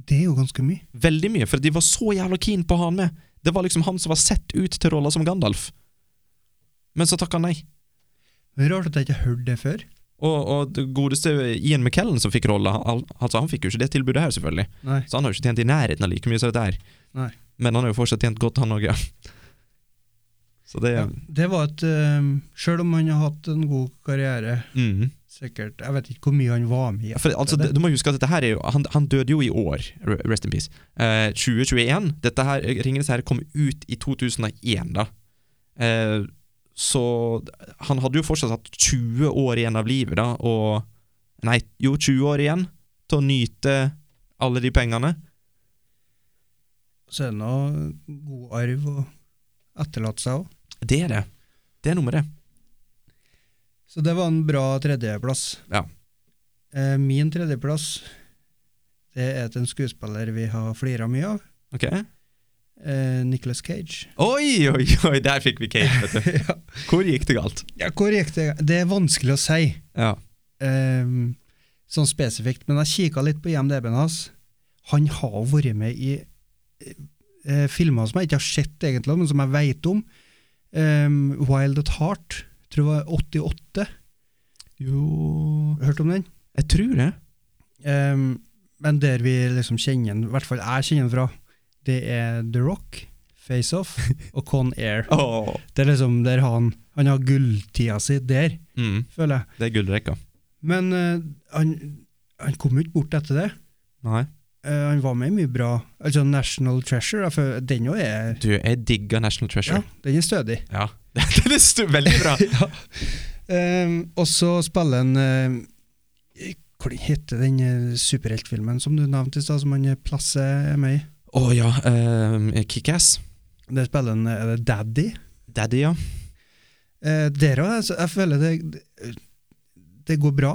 J: Det er jo ganske mye.
K: Veldig mye, for de var så jævla keen på å ha han med. Det var liksom han som var sett ut til rolla som Gandalf. Men så takka han nei.
J: Det er rart at jeg ikke har hørt det før.
K: Og, og det godeste Ian McKellen som fikk rolla, han, altså, han fikk jo ikke det tilbudet her, selvfølgelig.
J: Nei.
K: Så han har jo ikke tjent i nærheten av like mye som dette her.
J: Nei.
K: Men han har jo fortsatt tjent godt, han òg, ja. Så det
J: Ja. Det var et uh, Sjøl om han har hatt en god karriere,
K: mm.
J: sikkert Jeg vet ikke hvor mye han var med i.
K: Ja, for, altså,
J: det-
K: du må huske at dette her er jo Han, han døde jo i år, re- rest in peace. Eh, 2021. Dette her, Ringenes herre kom ut i 2001, da. Eh, så han hadde jo fortsatt hatt 20 år igjen av livet, da, og Nei, jo, 20 år igjen til å nyte alle de pengene.
J: Så er det noe god arv å etterlate seg òg.
K: Det er det. Det er noe med det.
J: Så det var en bra tredjeplass.
K: Ja.
J: Eh, min tredjeplass det er til en skuespiller vi har flira mye av.
K: Ok?
J: Eh, Nicholas Cage.
K: Oi, oi, oi, der fikk vi Kate, vet du.
J: ja.
K: Hvor gikk det galt?
J: Hvor gikk det? Det er vanskelig å si.
K: Ja.
J: Ehm, sånn spesifikt, men jeg kikka litt på IMDb-en hans. Han har vært med i eh, filmer som jeg ikke har sett egentlig, men som jeg veit om. Ehm, Wild at Heart, tror jeg var 88.
K: Jo
J: Hørt om den?
K: Jeg tror det.
J: Ehm, men der vi liksom kjenner den, i hvert fall jeg kjenner den fra, det er The Rock, Face Off og Con Air.
K: Åh.
J: Det er liksom der han Han har gulltida si der,
K: Mm,
J: føler jeg.
K: det er gullrekka.
J: Men eh, han, han kom jo ikke bort etter det.
K: Nei.
J: Eh, han var med i mye bra. Altså National Treasure, jeg føler- den jo er
K: Du, jeg digger National
J: ja,
K: Treasure.
J: den er stødig.
K: Ja. Den er stu- veldig bra.
J: Ehm, og så spiller han eh, Hva den heter den eh, superheltfilmen som du nevnte i stad, som han eh, Plasse er med i?
K: Å ja, eh, Kickass.
J: Der spiller han eh, er det Daddy.
K: Daddy, ja.
J: Uh, der òg, altså, jeg føler det Det går bra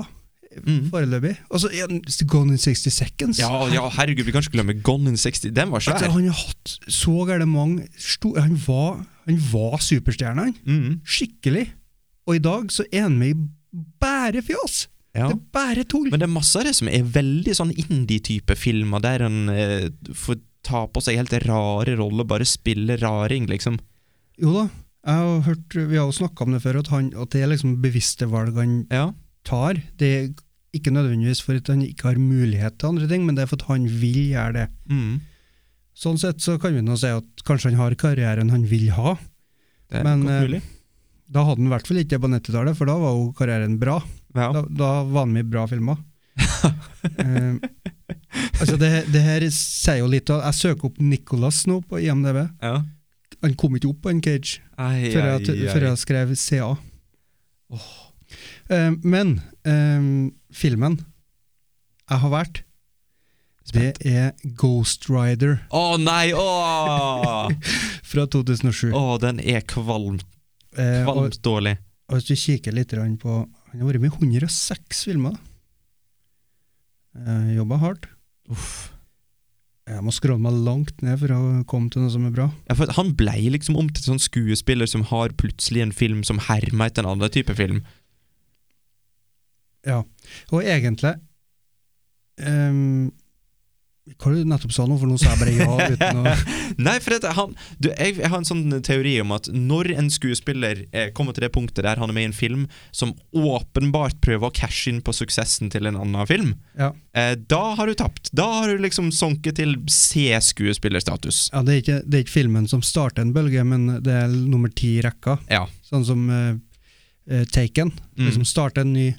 J: foreløpig. Og så er den Gone in 60 Seconds.
K: Mm. Ja, ja, herregud, vi kan ikke glemme Gone in 60. Den var
J: Altså,
K: svær.
J: han har hatt så gærent mange sto- Han var, han var superstjerne, han.
K: Mm,
J: skikkelig. Og i dag så er han med i bare fjas!
K: ja.
J: Det er bare tull!
K: Men det er masse av det som er veldig sånn indie-type filmer, der en eh, får ta på seg helt rare roller, bare spille raring, liksom.
J: Jo da, jeg har hørt, vi har jo snakka om det før, at, han, at det er liksom bevisste valg han
K: Ja.
J: tar. Det er ikke nødvendigvis for at han ikke har mulighet til andre ting, men det er for at han vil gjøre det.
K: Mm.
J: Sånn sett så kan vi nå si at kanskje han har karrieren han vil ha.
K: Det er
J: Men,
K: godt
J: eh,
K: mulig.
J: Da hadde han i hvert fall ikke det på 90-tallet, for da var jo karrieren bra.
K: Ja.
J: Da, da var han med i bra filmer. Eh, Altså, det, det her sier jo litt av Jeg søker opp Nicholas nå på IMDb.
K: Ja.
J: Han kom ikke opp på en cage
K: Ai,
J: før jeg,
K: ai, ai.
J: før jeg skrev CA. Eh, men eh, filmen jeg har vært, det er Ghost Rider
K: Å nei! Å!
J: fra 2007.
K: Å, den er kvalmt,
J: Eh, og,
K: kvalmt dårlig.
J: og hvis du kikker litt grann på Han har vært med i 106 filmer. Eh, Jobba hardt.
K: Uff.
J: Jeg må skrolle meg langt ned for å komme til noe som er bra.
K: Ja, for han blei liksom om til sånn skuespiller som har plutselig en film som hermer etter en annen type film.
J: Ja, og egentlig ehm, Hva var det du nettopp sa nå, for nå sa jeg bare ja uten å
K: Nei, for dette, han, du, jeg, jeg har en sånn teori om at når en skuespiller eh, kommer til det punktet der han er med i en film som åpenbart prøver å cashe inn på suksessen til en annen film,
J: Ja,
K: eh, da har du tapt. Da har du liksom sunket til C-skuespillerstatus.
J: ja det, er ikke, det er ikke filmen som starter en bølge, men det er nummer ti i rekka.
K: Ja.
J: Sånn som eh, eh, Taken.
K: Mm.
J: Liksom starter en ny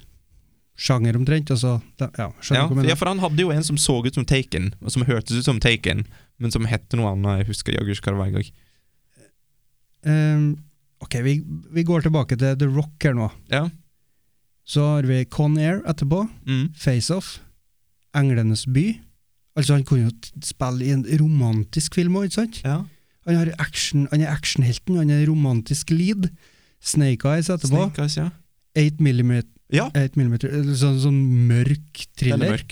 J: sjanger omtrent. Altså, da, ja, skjønner
K: Ja,
J: du
K: ja,
J: hva jeg mener?
K: for han hadde jo en som så ut som Taken, og som hørtes ut som Taken, men som het noe annet. Jeg husker jaggu ikke hva det var engang.
J: Ehm, ok, vi, vi går tilbake til The Rock her nå.
K: Ja.
J: Så har vi Con Air etterpå.
K: Mm.
J: Face Off, Englenes by. Altså Han kunne jo t- spille i en romantisk film òg, ikke sant?
K: ja.
J: Han, har action, han er actionhelten, han er romantisk lead. Snake Eyes etterpå.
K: Snake Eyes, ja.
J: 8 millimeter,
K: Ja,
J: 8 millimeter eller sånn, sånn mørk
K: den er
J: thriller.
K: mørk.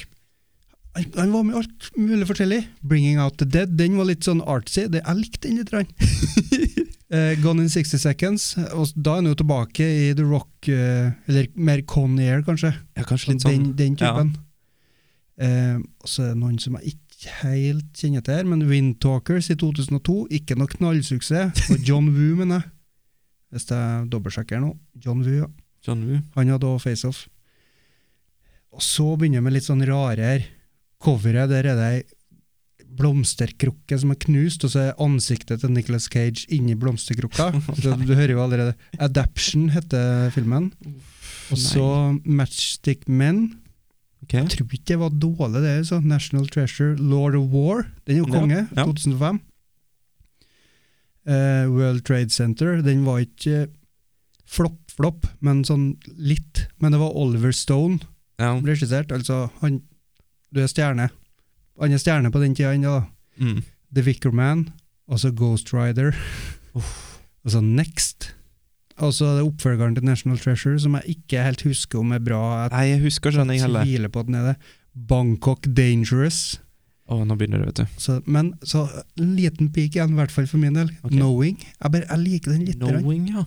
J: Han, han var med i alt mulig forskjellig. 'Bringing Out the Dead' den var litt sånn artsy. Det, jeg likte den litt. grann. Eh, 'Gone in 60 Seconds'. Og da er han jo tilbake i The Rock, eh, eller mer Con Air, kanskje.
K: Ja, kanskje litt
J: Den,
K: sånn.
J: den typen. Eh, og så er det noen som jeg ikke helt kjenner til her, men Windtalkers i 2002, ikke noe knallsuksess. Og John Woo, mener jeg. Hvis jeg dobbeltsjekker nå. John Woo, ja.
K: John Woo.
J: Han hadde òg FaceOff. Og så begynner jeg med litt sånn rare her. Coveret, der er det ei blomsterkrukke som er knust, og så er ansiktet til Nicolas Cage inni blomsterkrukka. Så du hører jo allerede. Adaption heter filmen. Og så Matchstick Men.
K: Ok.
J: Jeg tror ikke det var dårlig, det. Så. National Treasure, Lord of War, den er jo
K: Ja,
J: konge.
K: ja.
J: 2005. Eh, World Trade Center, den var ikke flopp-flopp, men sånn litt. Men det var Oliver Stone
K: Ja.
J: som regisserte, altså han Du er stjerne. Han er stjerne på den tida ennå, da.
K: Mm.
J: The Wicker Man, og så Ghost Rider, og så Next. Og så er det oppfølgeren til National Treasure, som jeg ikke helt husker om er bra. Jeg
K: Nei, jeg husker ikke den, jeg heller.
J: Tviler på at den er det. Bangkok Dangerous.
K: Å, nå begynner det, vet du.
J: Så, men så en liten peak igjen, i hvert fall for min del.
K: Ok.
J: Knowing. Jeg, bare, jeg liker den litt. grann.
K: Knowing, ja.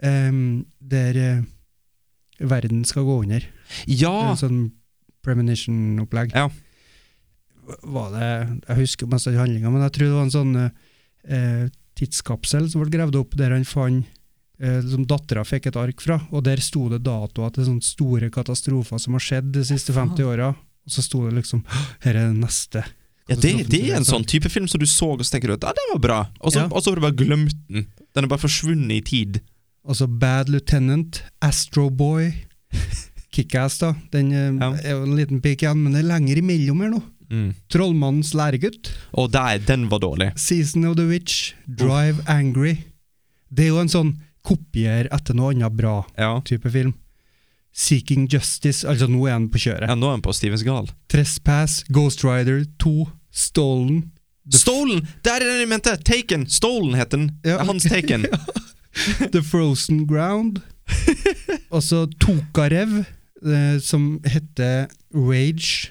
J: Em, der eh, verden skal gå under.
K: Ja!
J: En sånn premonition-opplegg.
K: Ah. Ja.
J: Var det, jeg husker mest av handlinga, men jeg tror det var en sånn eh, tidskapsel som ble gravd opp, der han fant eh, som dattera fikk et ark fra, og der sto det datoer til sånne store katastrofer som har skjedd de siste 50 åra. Og så sto det liksom Her er den neste.
K: ja det, det er en sånn type film som du så og så tenker du at ja, den var bra, og så
J: Ja.
K: og så har du bare glemt den. Den er bare forsvunnet i tid.
J: Og så Altså, Bad Lieutenant, Astroboy, Kickass, da. Den eh,
K: Ja.
J: er jo en liten pik igjen, men det er lenger imellom her nå.
K: Mm.
J: Trollmannens læregutt.
K: Og der, den var dårlig.
J: Season of the Witch, Drive Angry. Det er jo en sånn kopier etter noe annet bra-type
K: Ja.
J: film. Seeking Justice, altså nå er han på kjøret.
K: ja, nå er den på Stevens Gal.
J: Trespass, Ghost Rider 2, Stolen. The-
K: Stolen! Der er den jeg mente! Taken! Stolen het den.
J: Ja.
K: Hans Taken.
J: The Frozen Ground. Og så Tokarev, eh, som heter Rage,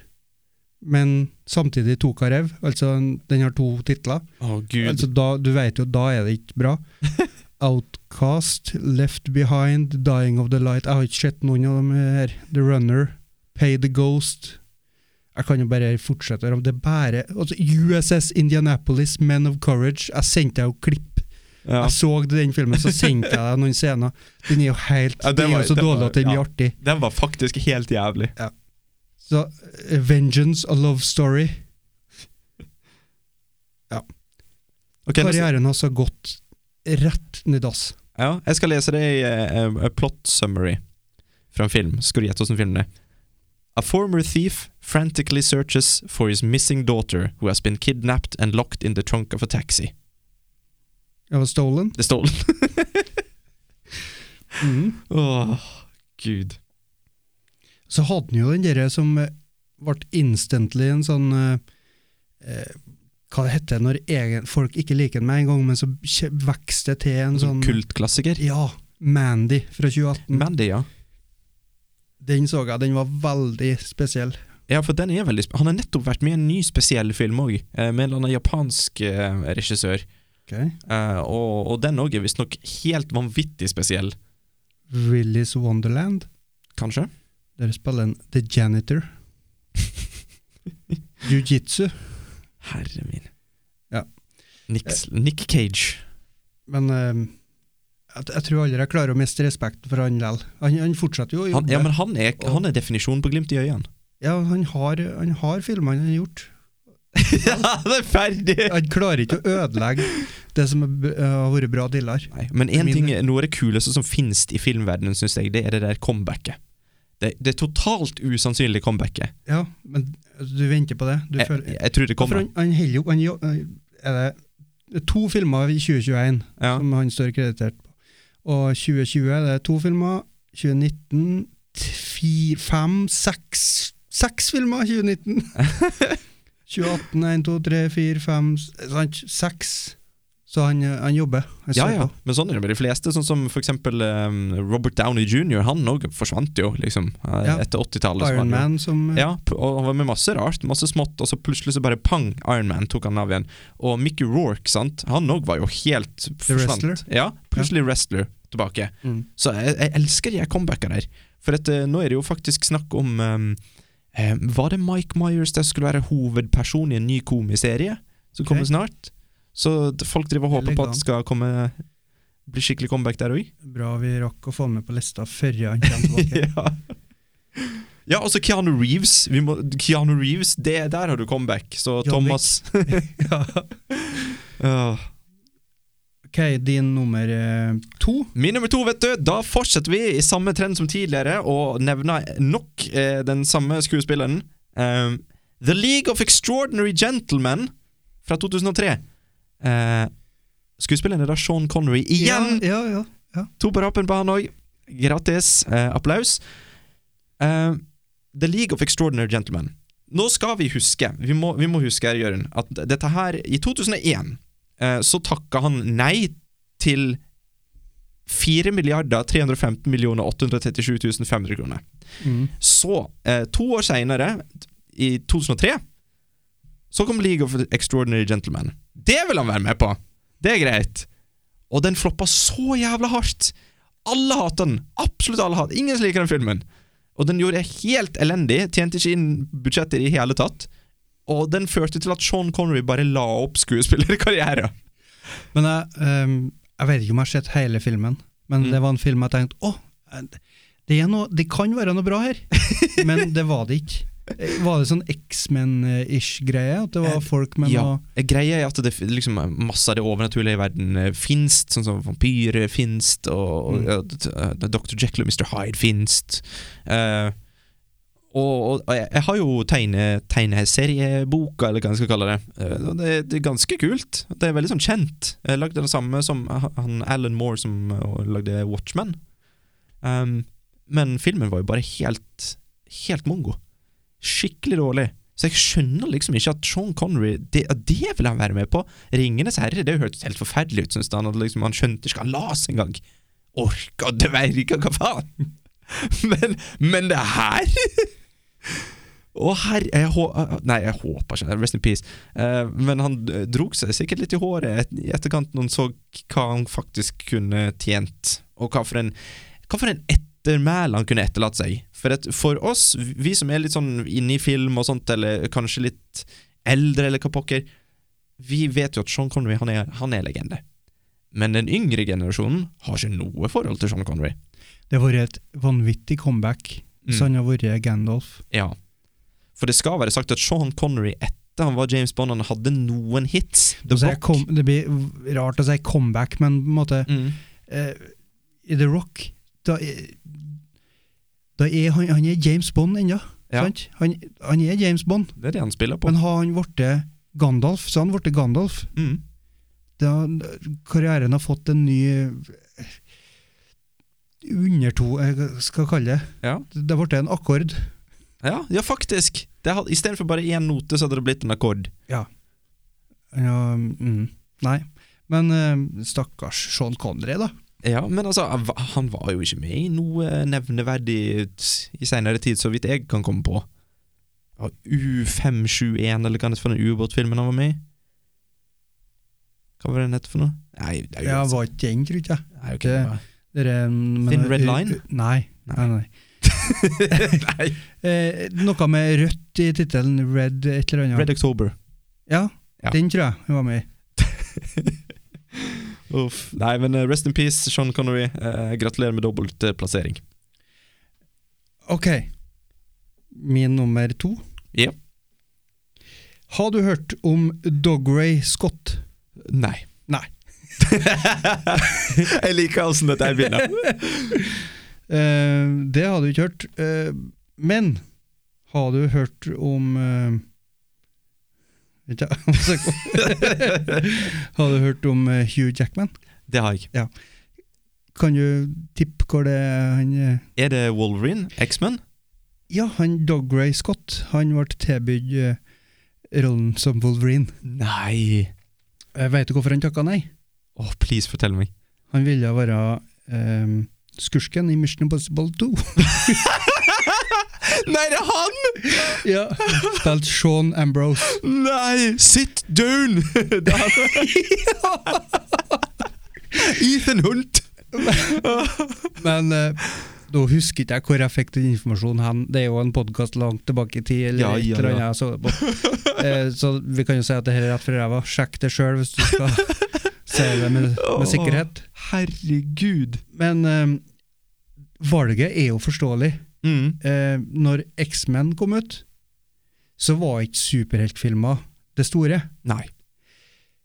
J: men samtidig Tokarev. Altså, den har to titler.
K: Å, gud.
J: Altså, da, du vet jo, da er det ikke bra. Outcast, Left Behind, Dying of the Light. Jeg har ikke sett noen av dem her. The Runner, Pay the Ghost. Jeg kan jo bare fortsette. her, om Det bærer altså, USS Indianapolis, Men of Courage. Jeg sendte deg jo klipp.
K: ja.
J: Jeg så den filmen, så sendte jeg deg noen scener. Den er jo helt
K: Ja, den
J: Den er
K: var-
J: jo så
K: den
J: dårlig
K: var-
J: at den blir
K: ja.
J: artig.
K: Den var faktisk helt jævlig.
J: Så eh, Vengeance, A Love Story.
K: Ok, nå-
J: Karrieren hans har gått rett ned i dass.
K: Ja, jeg skal lese det i eh, eh, plot summary fra en film. Skal du gjette hvordan filmen er? A former thief frantically searches for his missing daughter, who has been kidnapped and locked in the trunk of a taxi.
J: Det var stolen.
K: Det står
J: Mhm.
K: Åh, gud.
J: Så hadde han jo den derre som eh, ble instantly en sånn eh, eh, Hva det heter det når egen, folk ikke liker den med en gang, men så kje- vokste det til en sånn
K: Kultklassiker.
J: Ja, Mandy fra 2018.
K: Mandy, ja.
J: Den så jeg, den var veldig spesiell.
K: Ja, for den er veldig sp Han har nettopp vært med i en ny spesiell film òg, med en eller annen japansk eh, regissør. Eh, og, og den òg er visstnok helt vanvittig spesiell,
J: Willy's Wonderland.
K: kanskje?
J: Der spiller han The Janitor. Jiu-jitsu.
K: Herre min. Eh.
J: Ja.
K: Nick, Nick Cage.
J: Men eh, jeg, jeg tror aldri jeg klarer å miste respekten for han likevel. Han, han fortsetter jo å
K: Han,
J: jobbe.
K: ja, men han er, han er definisjonen på glimt i øynene.
J: Ja, han har, han har filmene han har gjort.
K: ja, det er ferdig!
J: Han klarer ikke å ødelegge det som er b- eh, har vært bra dealer.
K: Nei, men en
J: Min-
K: ting, noe av det kuleste som finnes i filmverdenen, synes jeg, det er det der comebacket. Det, det totalt usannsynlige comebacket.
J: Ja, men du venter på det. Du
K: Jeg,
J: føler,
K: jeg tror det
J: For
K: kommer.
J: han, han holder jo han, jo- er det, det er to filmer i 2021
K: Ja.
J: som han står kreditert på. Og 2020 det er to filmer. 2019 fire, fem, seks Seks filmer! 2019! 2018, 1, 2, 3, 4, 5, sant? Seks. Så han, han jobber. Han
K: Ja,
J: står
K: ja,
J: på.
K: men sånn er det med de fleste. Sånn som for eksempel ehm, Robert Downey jr. Han òg forsvant jo, liksom, eh,
J: Ja.
K: etter 80-tallet. så var han
J: Iron
K: jo-
J: Man som eh,
K: Ja, p- og han var med masse rart, masse smått, og så plutselig så bare pang, Iron Man tok han av igjen. Og Mickey Rourke, sant, han òg var jo helt forsvant.
J: Wrestler?
K: Ja, plutselig wrestler tilbake.
J: Mm.
K: Så jeg, jeg elsker de comebackene der. For at, eh, nå er det jo faktisk snakk om ehm, eh, Var det Mike Myers der skulle være hovedperson i en ny komiserie som kommer
J: Ok.
K: snart? Så d- folk driver og håper på at
J: Elegant.
K: det skal komme bli skikkelig comeback der òg.
J: Bra vi rakk å få med på lista før han kommer tilbake.
K: ja. ja, og så Keanu Reeves. Vi må, Keanu Reeves, det, der har du comeback. Så
J: John
K: Thomas Ja.
J: Ok, din nummer eh, to.
K: Min nummer to, vet du. Da fortsetter vi i samme trend som tidligere og nevner nok eh, den samme skuespilleren. Eh, The League of Extraordinary Gentlemen fra 2003. Eh, skuespilleren er da Sean Connery igjen.
J: Ja, ja, ja.
K: To på rappen på han òg. Grattis. Eh, applaus. Eh, The League of Extraordinary Gentlemen. Nå skal vi huske, vi må, vi må huske her, Jørund, at dette her I 2001 eh, så takka han nei til 4 milliarder 315 millioner 837 500 kroner.
J: Mm.
K: Så, eh, to år seinere, i 2003, så kom League of Extraordinary Gentlemen. Det vil han være med på! Det er greit. Og den floppa så jævla hardt! Alle hater den! Absolutt alle hater Ingen som liker den filmen. Og den gjorde det helt elendig, tjente ikke inn budsjettet i hele tatt. Og den førte til at Sean Connery bare la opp skuespillerkarrieren.
J: Men jeg, ehm, jeg vet ikke om jeg har sett hele filmen, men
K: Mm.
J: det var en film jeg tenkte åh, det, er noe, det kan være noe bra her, men det var det ikke. Eh, Var det sånn X-Men-ish greie? At det
K: Eh,
J: var folk med
K: ja. Eh,
J: noe
K: Greia er at det, liksom, masse av det overnaturlige i verden eh, finst, sånn som vampyrer finst, og, og
J: Mm.
K: eh, d- Dr. Jekyll og Mr. Hyde finst. Eh, og, og jeg, jeg har jo tegne, tegneserieboka, eller hva jeg skal kalle det. Eh, og det, det er ganske kult. Det er veldig sånn kjent. Jeg lagde det samme som han Alan Moore som eh, lagde Watchmen. Um, men filmen var jo bare helt Helt mongo. Skikkelig dårlig. Så jeg skjønner liksom ikke at Sean Connery Det, at det ville han være med på. 'Ringenes herre' det hørtes helt forferdelig ut, synes han. At liksom, han skjønte ikke hva han las engang. Orka dverger, hva faen? Men, men det her Å, herre jeg, hå- eh, Nei, jeg håper ikke Rest in peace. Eh, men han eh, drog seg sikkert litt i håret et- i etterkant når han så k- hva han faktisk kunne tjent, og hva for en hva for en ettermæl han kunne etterlatt seg. For, at for oss, vi som er litt sånn inne i film og sånt, eller kanskje litt eldre, eller hva pokker, vi vet jo at Sean Connery, han er, han er legende. Men den yngre generasjonen har ikke noe forhold til Sean Connery.
J: Det har vært et vanvittig comeback,
K: Mm.
J: så han har vært Gandalf.
K: Ja. For det skal være sagt at Sean Connery etter han var James Bond, han hadde noen hits. The
J: Altså, jeg
K: Rock.
J: kom, det blir rart å si comeback, men på en måte
K: Mm.
J: eh, I The Rock da er, da er han, han er James Bond ennå.
K: Ja.
J: Sant? Han, han er James Bond,
K: Det er det han spiller på.
J: men har han blitt Gandalf, så har han blitt Gandalf.
K: Mm.
J: Da, karrieren har fått en ny eh, underto, jeg skal kalle det.
K: Ja.
J: Det ble en akkord.
K: Ja, ja, faktisk! Det had, Istedenfor bare én note, så hadde det blitt en akkord.
J: Ja, mm, nei. Men eh, stakkars Sean Connery, da.
K: Ja, men altså, han va- han var jo ikke med i noe nevneverdig t- i seinere tid, så vidt jeg kan komme på. Ja, U571, eller hva det er for den ubåtfilmen han var med i? Hva var den het for noe? Nei, det er jo
J: Jeg var ikke den, tror ikke jeg.
K: Nei, ok, det var-
J: Dere, men-
K: Thin Red Line?
J: Nei. nei, nei.
K: Nei,
J: Eh, noe med rødt i tittelen, Red et eller annet.
K: Red October.
J: ja,
K: Ja.
J: den tror jeg hun var med i.
K: Uff. Nei, men eh, rest in peace, Sean Connery. Eh, gratulerer med dobbelt eh, plassering.
J: Ok. Min nummer to.
K: Ja.
J: Har du hørt om Dogray Scott?
K: Nei.
J: Nei.
K: jeg liker åssen dette her begynner.
J: Eh, det har du ikke hørt. Eh, men har du hørt om eh, Vet ikke jeg, hva jeg skal- Har du hørt om eh, Hugh Jackman?
K: Det har jeg.
J: Kan du tippe hvor det er han eh,
K: Er det Wolverine? X-Men?
J: Ja, han Dogray Scott. Han ble tilbudt eh, rollen som Wolverine.
K: Nei.
J: Eh, Vet du hvorfor han takka nei?
K: Åh, please, fortell meg.
J: Han ville være ehm, skurken i Mission Impossible 2.
K: Nei, det er han!
J: ja. Spilt Sean Ambrose.
K: Nei! Sit down! Ethan Hunt!
J: Men eh, da husker ikke jeg hvor jeg fikk den informasjonen hen. Det er jo en podkast langt tilbake i tid, eller
K: Ja,
J: et
K: ja,
J: eller annet
K: ja.
J: jeg så det på. Eh, så vi kan jo si at det her er rett fra ræva. Sjekk det sjøl hvis du skal se det med, med sikkerhet.
K: Herregud.
J: Men eh, valget er jo forståelig.
K: Mm.
J: Eh, når X-Men kom ut, så var ikke superheltfilmer det store.
K: Nei.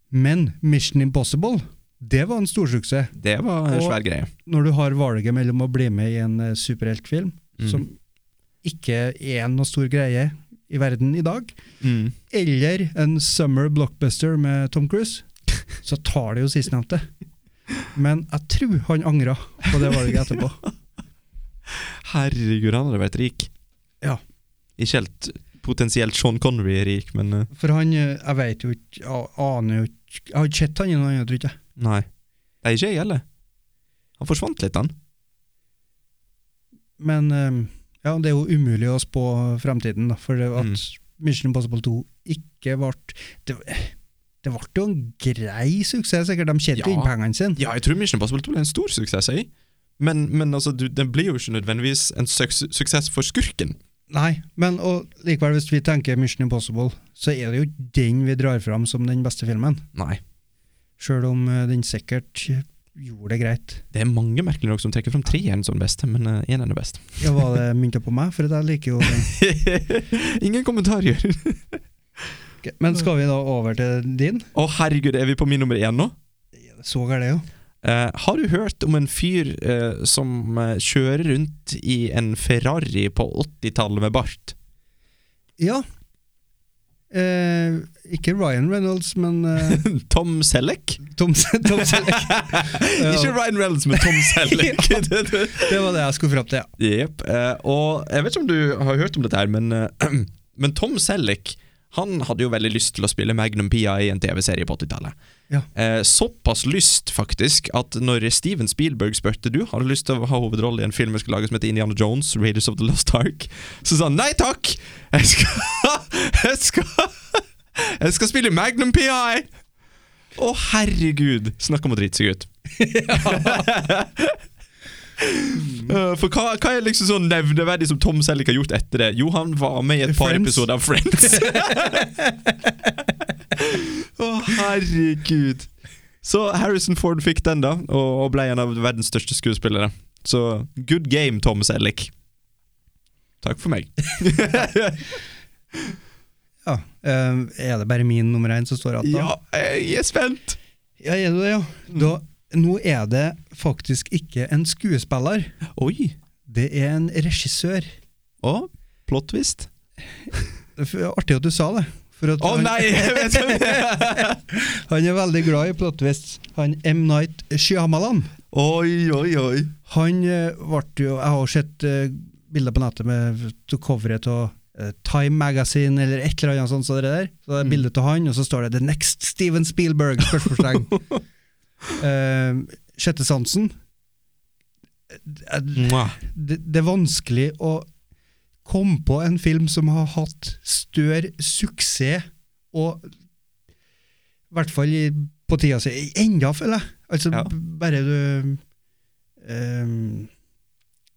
J: Men Mission Impossible, det var en storsuksess.
K: Det var en
J: Og-
K: svær greie.
J: Når du har valget mellom å bli med i en eh, superheltfilm, som ikke er noe stor greie i verden i dag,
K: Mm.
J: eller en summer blockbuster med Tom Cruise, så tar det jo sistnevnte. Men jeg tror han angra på det valget etterpå.
K: Herregud, han hadde vært rik.
J: Ja.
K: Ikke helt potensielt Sean Connery er rik, men eh,
J: For han, eh, jeg vet jo ikke, jeg aner jo ikke Jeg har ikke sett han i noe annet, tror jeg.
K: Nei. Det er ikke jeg heller. Han forsvant litt, han.
J: Men eh, ja, det er jo umulig å spå fremtiden, da, for det at
K: Mm.
J: Mission Impossible 2 ikke ble Det, det ble jo en grei suksess, sikkert. De tjente
K: Ja.
J: jo inn pengene sine.
K: Ja, jeg tror Mission Impossible 2 ble en stor suksess, jeg. Men, men altså, du, den blir jo ikke nødvendigvis en suks suksess for skurken.
J: Nei, men og likevel, hvis vi tenker Mission Impossible, så er det jo ikke den vi drar fram som den beste filmen.
K: Nei.
J: Sjøl om eh, den sikkert gjorde det greit.
K: Det er mange merkelig nok som trekker fram treeren som best, men eh, eneren er best.
J: Ja, Var det mynta på meg? For jeg liker jo den.
K: Ingen kommentarer. Å,
J: Ok, Men skal vi da over til din?
K: herregud, er vi på min nummer én nå?
J: Så er det jo.
K: Eh, har du hørt om en fyr eh, som eh, kjører rundt i en Ferrari på 80-tallet med bart?
J: Ja. Eh, ikke Ryan Reynolds, men eh,
K: Tom Selleck?
J: Tom, Tom Selleck.
K: Ikke Ryan Reynolds, men Tom Selleck.
J: Det var det jeg skulle fram til. ja.
K: Jepp. eh, og jeg vet ikke om du har hørt om dette, her, men, eh, men Tom Selleck han hadde jo veldig lyst til å spille Magnum Pia i en TV-serie på 80-tallet.
J: Ja.
K: Eh, såpass lyst, faktisk, at når Steven Spielberg spurte du har du lyst til å ha hovedrolle i en film jeg skal lage som heter Indiana Jones, Raiders of the Lost Ark, så sa han nei takk! Jeg skal Jeg skal, jeg skal spille Magnum PI! Å, herregud! Snakk om å drite seg ut. Eh, For hva, hva er liksom sånn nevneverdig som Tom Selleck har gjort etter det? Jo, han var med i et par
J: Friends.
K: episoder av Friends. Å, herregud. Så Harrison Ford fikk den, da, og, og ble en av verdens største skuespillere. Så good game, Tom Selleck. Takk for meg.
J: Ja. Eh, er det bare min nummer én som står igjen? da?
K: Ja, jeg er spent!
J: ja, er det det, ja? Da, nå er det faktisk ikke en skuespiller,
K: Oi.
J: det er en regissør.
K: Å? Plot twist?
J: F- Artig at du sa det. For at
K: Å
J: han,
K: nei! jeg vet ikke.
J: han er veldig glad i plot twists. Han M. Night Shyamalan.
K: Oi, oi, oi.
J: Han eh, ble jo Jeg har sett eh, bilder på nettet med to coveret av eh, Time Magazine eller et eller annet sånt. Så det der. Så det er bildet av han, og så står det 'The Next Steven Spielberg'. spørsmålstegn. Eh, Sjette sansen. Eh,
K: Mwah.
J: det, det er vanskelig å komme på en film som har hatt større suksess, og i hvert fall i- på tida si enda, føler jeg. Altså,
K: Ja.
J: b- bare du ehm,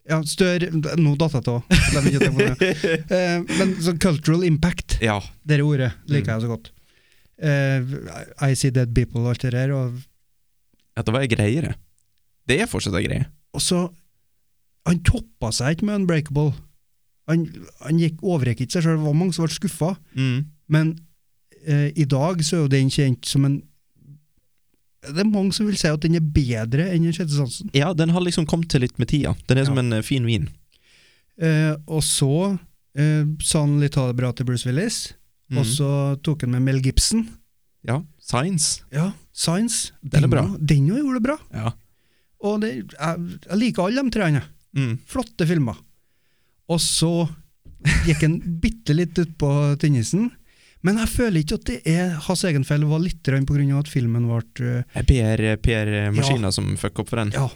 J: Ja, større Nå datt jeg av. La meg ikke tenke på det. Eh, men sånn cultural impact,
K: Ja. Mm.
J: det er ordet, liker jeg så godt. Eh, I see dead people og alt det der. og
K: Dette var ei greie, det. Det er fortsatt ei greie.
J: Og så Han toppa seg ikke med Unbreakable. Han, han gikk, overgikk ikke seg sjøl. Det var mange som ble skuffa. Men eh, i dag så er jo den kjent som en Det er mange som vil si at den er bedre enn den sjette sansen.
K: Ja, den har liksom kommet til litt med tida. Den er som en eh, fin vin.
J: Eh, og så eh, sa han litt ha det bra til Bruce Willis, og så tok han med Mel Gibson.
K: Ja. Science.
J: Ja, Science.
K: Den er bra.
J: jo- Den jo gjorde det bra.
K: Ja.
J: Og det, jeg, jeg liker alle de treene.
K: Mm.
J: Flotte filmer. Og så gikk han bitte litt ut på tynnisen. Men jeg føler ikke at det er hans egen feil. Det var litt grann på grunn av at filmen ble eh,
K: Det er PR, eh, PR-maskiner som fucker opp for den.
J: Ja.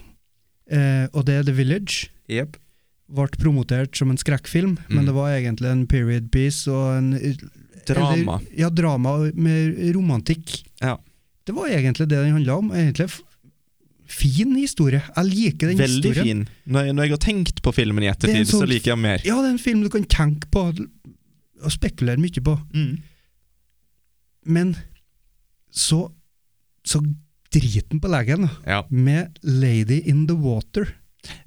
J: Eh, og det er The Village.
K: Jep.
J: Ble promotert som en skrekkfilm, men
K: Mm.
J: det var egentlig en period piece og en eh,
K: Drama.
J: eller- ja, drama med romantikk.
K: Ja.
J: Det var egentlig det den handla om. Egentlig f- fin historie. Jeg liker den
K: Veldig
J: historien.
K: fin. Når jeg, når jeg har tenkt på filmen i
J: Det er en
K: ettertid, så
J: sånn-
K: liker jeg den mer.
J: Ja, det er en film du kan tenke på og spekulere mye på.
K: Mm.
J: Men så, så driten på legen da.
K: Ja.
J: med Lady in the Water.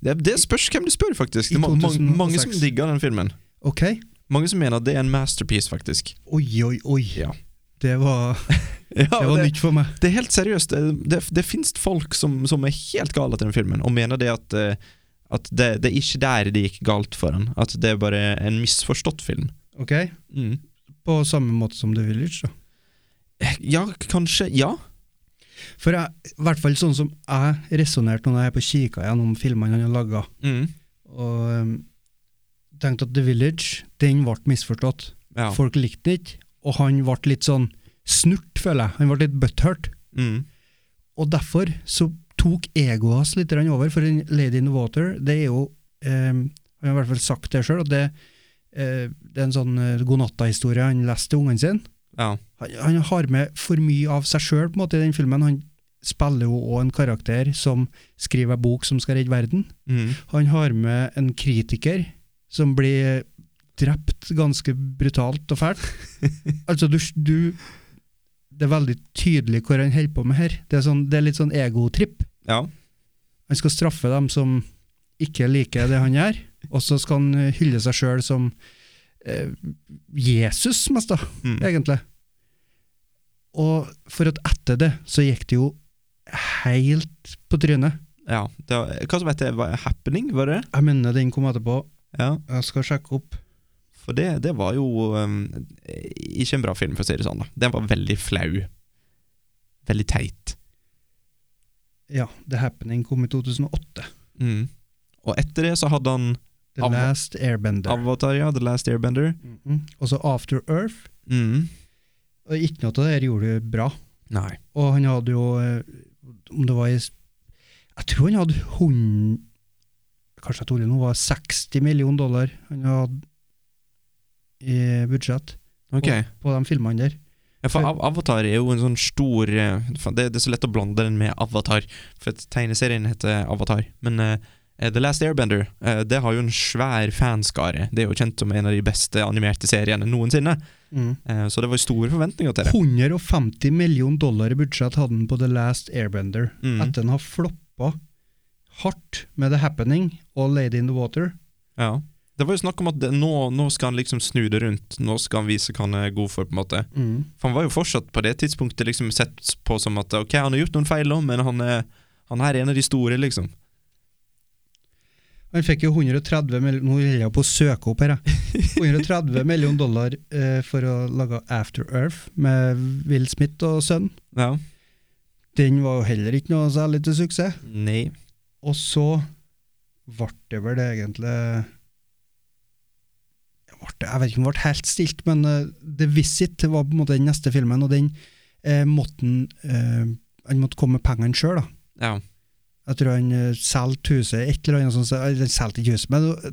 K: Det, det spørs hvem du spør, faktisk. Det
J: I
K: er ma- mange,
J: 2006.
K: mange som digger den filmen.
J: Ok?
K: Mange som mener at det er en masterpiece, faktisk.
J: Oi, oi, oi.
K: Ja.
J: Det var,
K: Ja,
J: det var
K: det,
J: nytt for meg.
K: det er helt seriøst. Det, det, det finnes folk som, som er helt gale etter den filmen, og mener det at, eh, at det, det er ikke der det gikk galt for den. At det er bare en misforstått film.
J: Ok?
K: Mm.
J: På samme måte som The Village. da.
K: Ja, kanskje. Ja.
J: For jeg, i hvert fall sånn som jeg resonnerte når jeg er på kikka gjennom filmene han har laga,
K: Mm.
J: og øhm, tenkte at The Village, den ble misforstått.
K: Ja.
J: Folk likte den ikke, og han ble litt sånn snurt, føler jeg. Han ble litt butthurt.
K: Mm.
J: Og derfor så tok egoet hans litt grann over, for en Lady in the Water, det er jo eh, Han har i hvert fall sagt det sjøl, at det, eh, det er en sånn eh, godnatta-historie han leste til ungene sine.
K: ja.
J: Han, han har med for mye av seg sjøl i den filmen. Han spiller jo òg en karakter som skriver ei bok som skal redde verden.
K: Mm.
J: Han har med en kritiker som blir drept ganske brutalt og fælt. altså, du, du Det er veldig tydelig hvor han holder på med her. Det er, sånn, det er litt sånn egotripp.
K: ja.
J: Han skal straffe dem som ikke liker det han gjør, og så skal han eh, hylle seg sjøl som eh, Jesus, mest, da,
K: Mm.
J: egentlig. Og for at etter det så gikk det jo helt på trynet.
K: ja. Det var, hva som heter det? Happening, var det?
J: Jeg mener den kom etterpå.
K: Ja.
J: Jeg skal sjekke opp.
K: For det, det var jo um, ikke en bra film, for å si det sånn. da Den var veldig flau. Veldig teit.
J: Ja, The Happening kom i 2008.
K: Mm. Og etter det så hadde han
J: The
K: Av-
J: Last Airbender.
K: Avatar, ja, The Last Airbender.
J: Mhm. Og så After Earth.
K: Mm.
J: Og ikke noe av det her gjorde det bra.
K: Nei.
J: Og han hadde jo eh, Om det var i s- Jeg tror han hadde 100 Kanskje jeg tok det nå, var 60 millioner dollar han hadde i budsjett
K: Ok.
J: på, på de filmene der.
K: Ja, for Av- Avatar er jo en sånn stor eh, faen, det, det er så lett å blande den med Avatar, for at tegneserien heter Avatar. Men eh, eh, The Last Airbender eh, Det har jo en svær fanskare. Det er jo kjent som en av de beste animerte seriene noensinne.
J: Mhm.
K: Eh, så det var jo store forventninger til det.
J: 150 millioner dollar i budsjett hadde han på The Last Airbender.
K: Mhm.
J: Etter han har floppa hardt med The Happening og Lady in the Water.
K: Ja. Det var jo snakk om at det, nå, nå skal han liksom snu det rundt. Nå skal han vise hva han er god for, på en måte.
J: Mm.
K: For han var jo fortsatt på det tidspunktet liksom sett på som at ok, han har gjort noen feil òg, men han, er, han her er en av de store, liksom.
J: Han fikk jo 130 mill- Nå holder jeg på å søke opp her, jeg. 130 million dollar eh, for å lage After Earth med Will Smith og sønn.
K: Ja.
J: Den var jo heller ikke noe særlig til suksess.
K: Nei.
J: Og så ble det vel egentlig ble det, Jeg vet ikke om det ble helt stilt, men eh, The Visit var på en måte den neste filmen, og den eh, måtte han eh, Han måtte komme med pengene sjøl, da.
K: Ja.
J: Jeg tror han eh, solgte huset, et eller annet sånt. så- eller Han solgte ikke huset, men eh,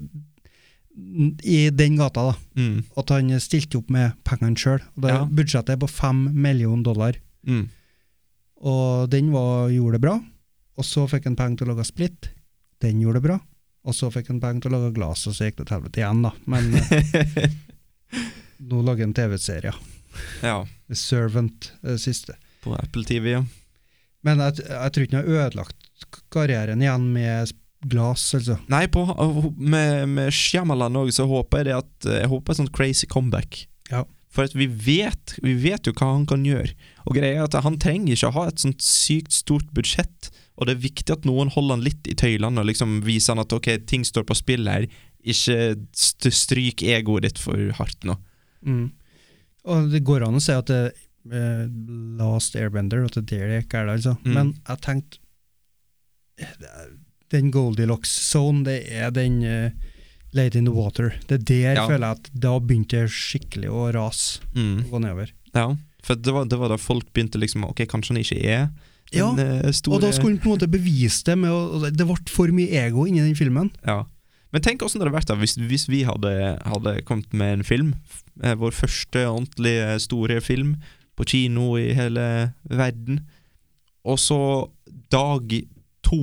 J: i den gata, da.
K: Mm.
J: At han stilte opp med pengene sjøl.
K: Ja.
J: Budsjettet er på fem millioner dollar.
K: Mm.
J: Og den var, gjorde det bra. Og så fikk han penger til å lage Split. Den gjorde det bra. Og så fikk han penger til å lage Glass, og så gikk det til helvete igjen, da. Men eh, nå lager han TV-serier.
K: ja.
J: The Servant, det siste.
K: På Apple TV, ja.
J: Men jeg, jeg tror ikke han har ødelagt k- karrieren igjen med Glass, altså.
K: Nei, på, eh, med, med Shyamalan også, så håper jeg det at eh, Jeg håper et sånt crazy comeback.
J: Ja.
K: For at vi vet, vi vet jo hva han kan gjøre. Og greia er at han trenger ikke å ha et sånt sykt stort budsjett, og det er viktig at noen holder han litt i tøylene og liksom viser han at ok, ting står på spill her. Ikke st stryk egoet ditt for hardt nå.
J: Mm. Og det går an å si at det eh, Last Airbender, at det er der det ikke er det, altså.
K: Mm.
J: Men jeg tenkte eh, det er- Den Goldilocks Zone, det er den eh, Lady in the Water. Det er der
K: Ja.
J: føler jeg at da begynte det skikkelig å rase og gå nedover.
K: Mm. Ja, for det var, det var da folk begynte liksom Ok, kanskje han ikke er den
J: Ja,
K: eh, store
J: Og da skulle han på en måte bevise det med å og Det det ble for mye ego inni den filmen.
K: Ja. Men tenk hvordan det hadde vært da hvis, hvis vi hadde, hadde kommet med en film. Eh, vår første ordentlig eh, store film på kino i hele verden. Og så dag to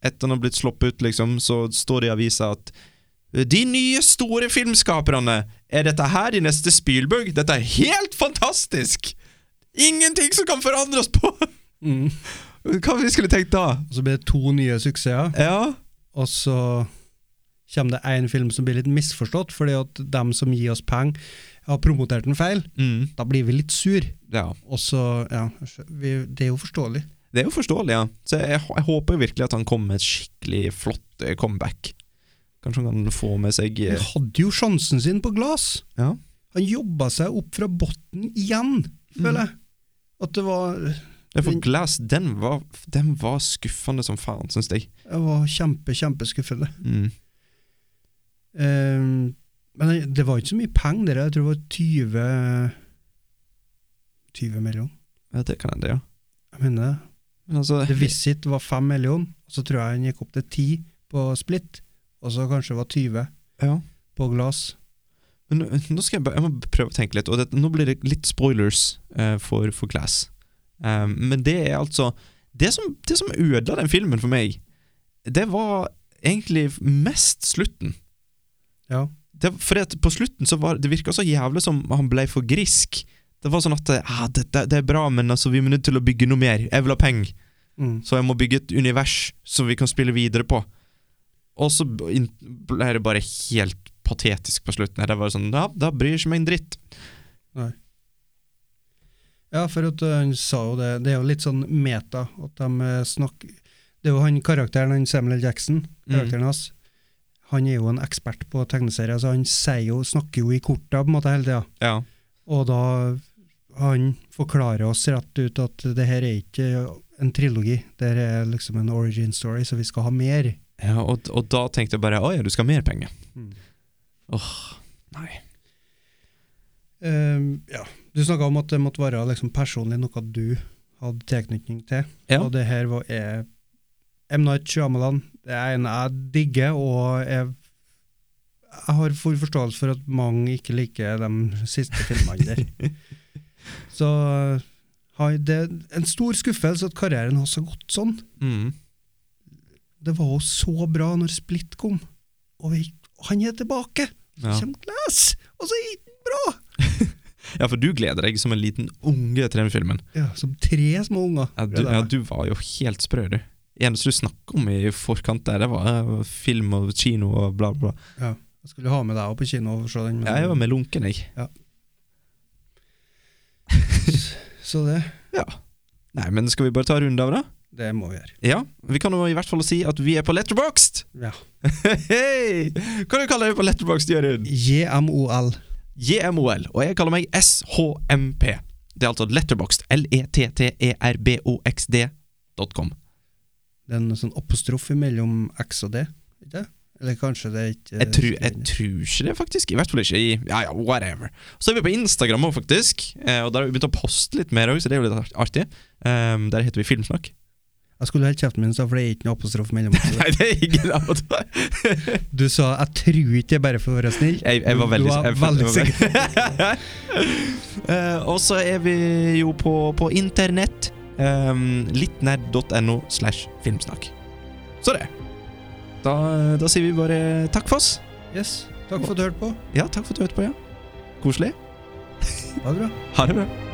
K: etter den har blitt sluppet ut, liksom, så står det i avisa at "Eh, de nye store filmskaperne! Er dette her de neste Spielberg? Dette er helt fantastisk! Ingenting som kan forandres på! Hva vi skulle tenkt da?
J: Og så ble det to nye suksesser,
K: Ja,
J: og så kommer det én film som blir litt misforstått, fordi at dem som gir oss penger, har promotert den feil.
K: mm,
J: Da blir vi litt sur.
K: ja.
J: Og så, ja, vi, det er jo forståelig.
K: Det er jo forståelig, ja. Så jeg, jeg håper virkelig at han kommer med et skikkelig flott eh, comeback. Kanskje han kan få med seg eh,
J: Han hadde jo sjansen sin på glass.
K: Ja.
J: Han jobba seg opp fra bunnen igjen,
K: Mm.
J: føler jeg. At det var,
K: ja, For Glass, den var, den var skuffende som faen, syns jeg.
J: det var kjempe, kjempeskuffende.
K: Mm.
J: Ehm, men det var ikke så mye penger, dere. Jeg tror det var 20 20 millioner.
K: Ja, det kan hende, ja.
J: Jeg mener det.
K: Men altså
J: The Visit var 5 millioner, og så tror jeg han gikk opp til 10 på Split, og så kanskje det var 20
K: Ja.
J: på glass.
K: Men nå- nå skal jeg, bare- jeg må prøve å tenke litt, og det, nå blir det litt spoilers eh, for, for Glass. Um, men det er altså det som, det som ødela den filmen for meg, det var egentlig mest slutten.
J: Ja.
K: det, fordi at på slutten så var det virka så jævlig som han ble for grisk. Det var sånn at ah, det, det, det er bra, men altså, vi er nødt til å bygge noe mer. Jeg vil ha penger,
J: Mm.
K: så jeg må bygge et univers som vi kan spille videre på. Og så b- in- ble det bare helt patetisk på slutten. Det var sånn, ja, Da bryr jeg ikke meg en dritt.
J: Ja, for at uh, han sa jo det, det er jo litt sånn meta, at de uh, snakker Det er jo han karakteren, han Samuel L. Jackson, karakteren hans, han er jo en ekspert på tegneserier, så han sier jo, snakker jo i korta på en måte hele tida.
K: Ja.
J: Og da han forklarer oss rett ut at det her er ikke en trilogi, det her er liksom en origin story, så vi skal ha mer.
K: ja og, og da tenkte jeg bare å ja, du skal ha mer penger. Åh, nei.
J: Um, ja. Du snakka om at det måtte være liksom, personlig noe du hadde tilknytning til.
K: Ja.
J: Og det her var er M. Night Shyamalan. Det er en jeg digger, og jeg, jeg har full forståelse for at mange ikke liker de siste filmene der. Så har det en stor skuffelse at karrieren hans har gått sånn.
K: Mm.
J: Det var jo så bra når Split kom, og vi, han er tilbake!
K: Ja.
J: Kjem glass! Og så er den bra!
K: ja, for du gleder deg som en liten unge til den filmen.
J: Ja, som tre små unger.
K: Ja, du, ja, du var jo helt sprø, du. Eneste du snakka om i forkant der, det var eh, film og kino og bla, bla.
J: Ja, jeg skulle ha med deg opp på kino og se den. men-
K: Ja, jeg var med lunken, jeg.
J: Så det.
K: Ja. Nei, men skal vi bare ta en runde av, da?
J: Det må vi gjøre.
K: Ja, vi kan jo i hvert fall si at vi er på Letterboxd!
J: Ja.
K: Hei! Hva du kaller du på Letterboxd, Jørund?
J: JMOL.
K: JMOL, og jeg kaller meg SHMP. Det er altså Letterboxd. E L-E-T-T-E-R-B-O-X-D.com.
J: Det er en sånn apostrof mellom X og D, ikke det? Eller kanskje det er ikke
K: Jeg tror, jeg tror ikke det, faktisk. I hvert fall ikke i Ja, ja, whatever. Så er vi på Instagram òg, faktisk. Eh, Og der har vi begynt å poste litt mer òg, så det er jo litt artig. Um, der heter vi Filmsnakk.
J: Jeg skulle holdt kjeften min, sa, for det er ikke noe apostrof mellom X og D.
K: Nei, det er ikke det.
J: Du sa 'jeg tror ikke', bare for å være snill.
K: Jeg, jeg var veldig,
J: du var
K: jeg,
J: veldig sikker.
K: Eh, og så er vi jo på, på internett. Um, Littnerd.no slash filmsnakk. Så det. Da, eh, da sier vi bare takk for oss.
J: Yes. Takk for at du hørte på.
K: Ja, takk for at du hørte på, ja. Koselig.
J: Ha det bra.
K: Ha det bra.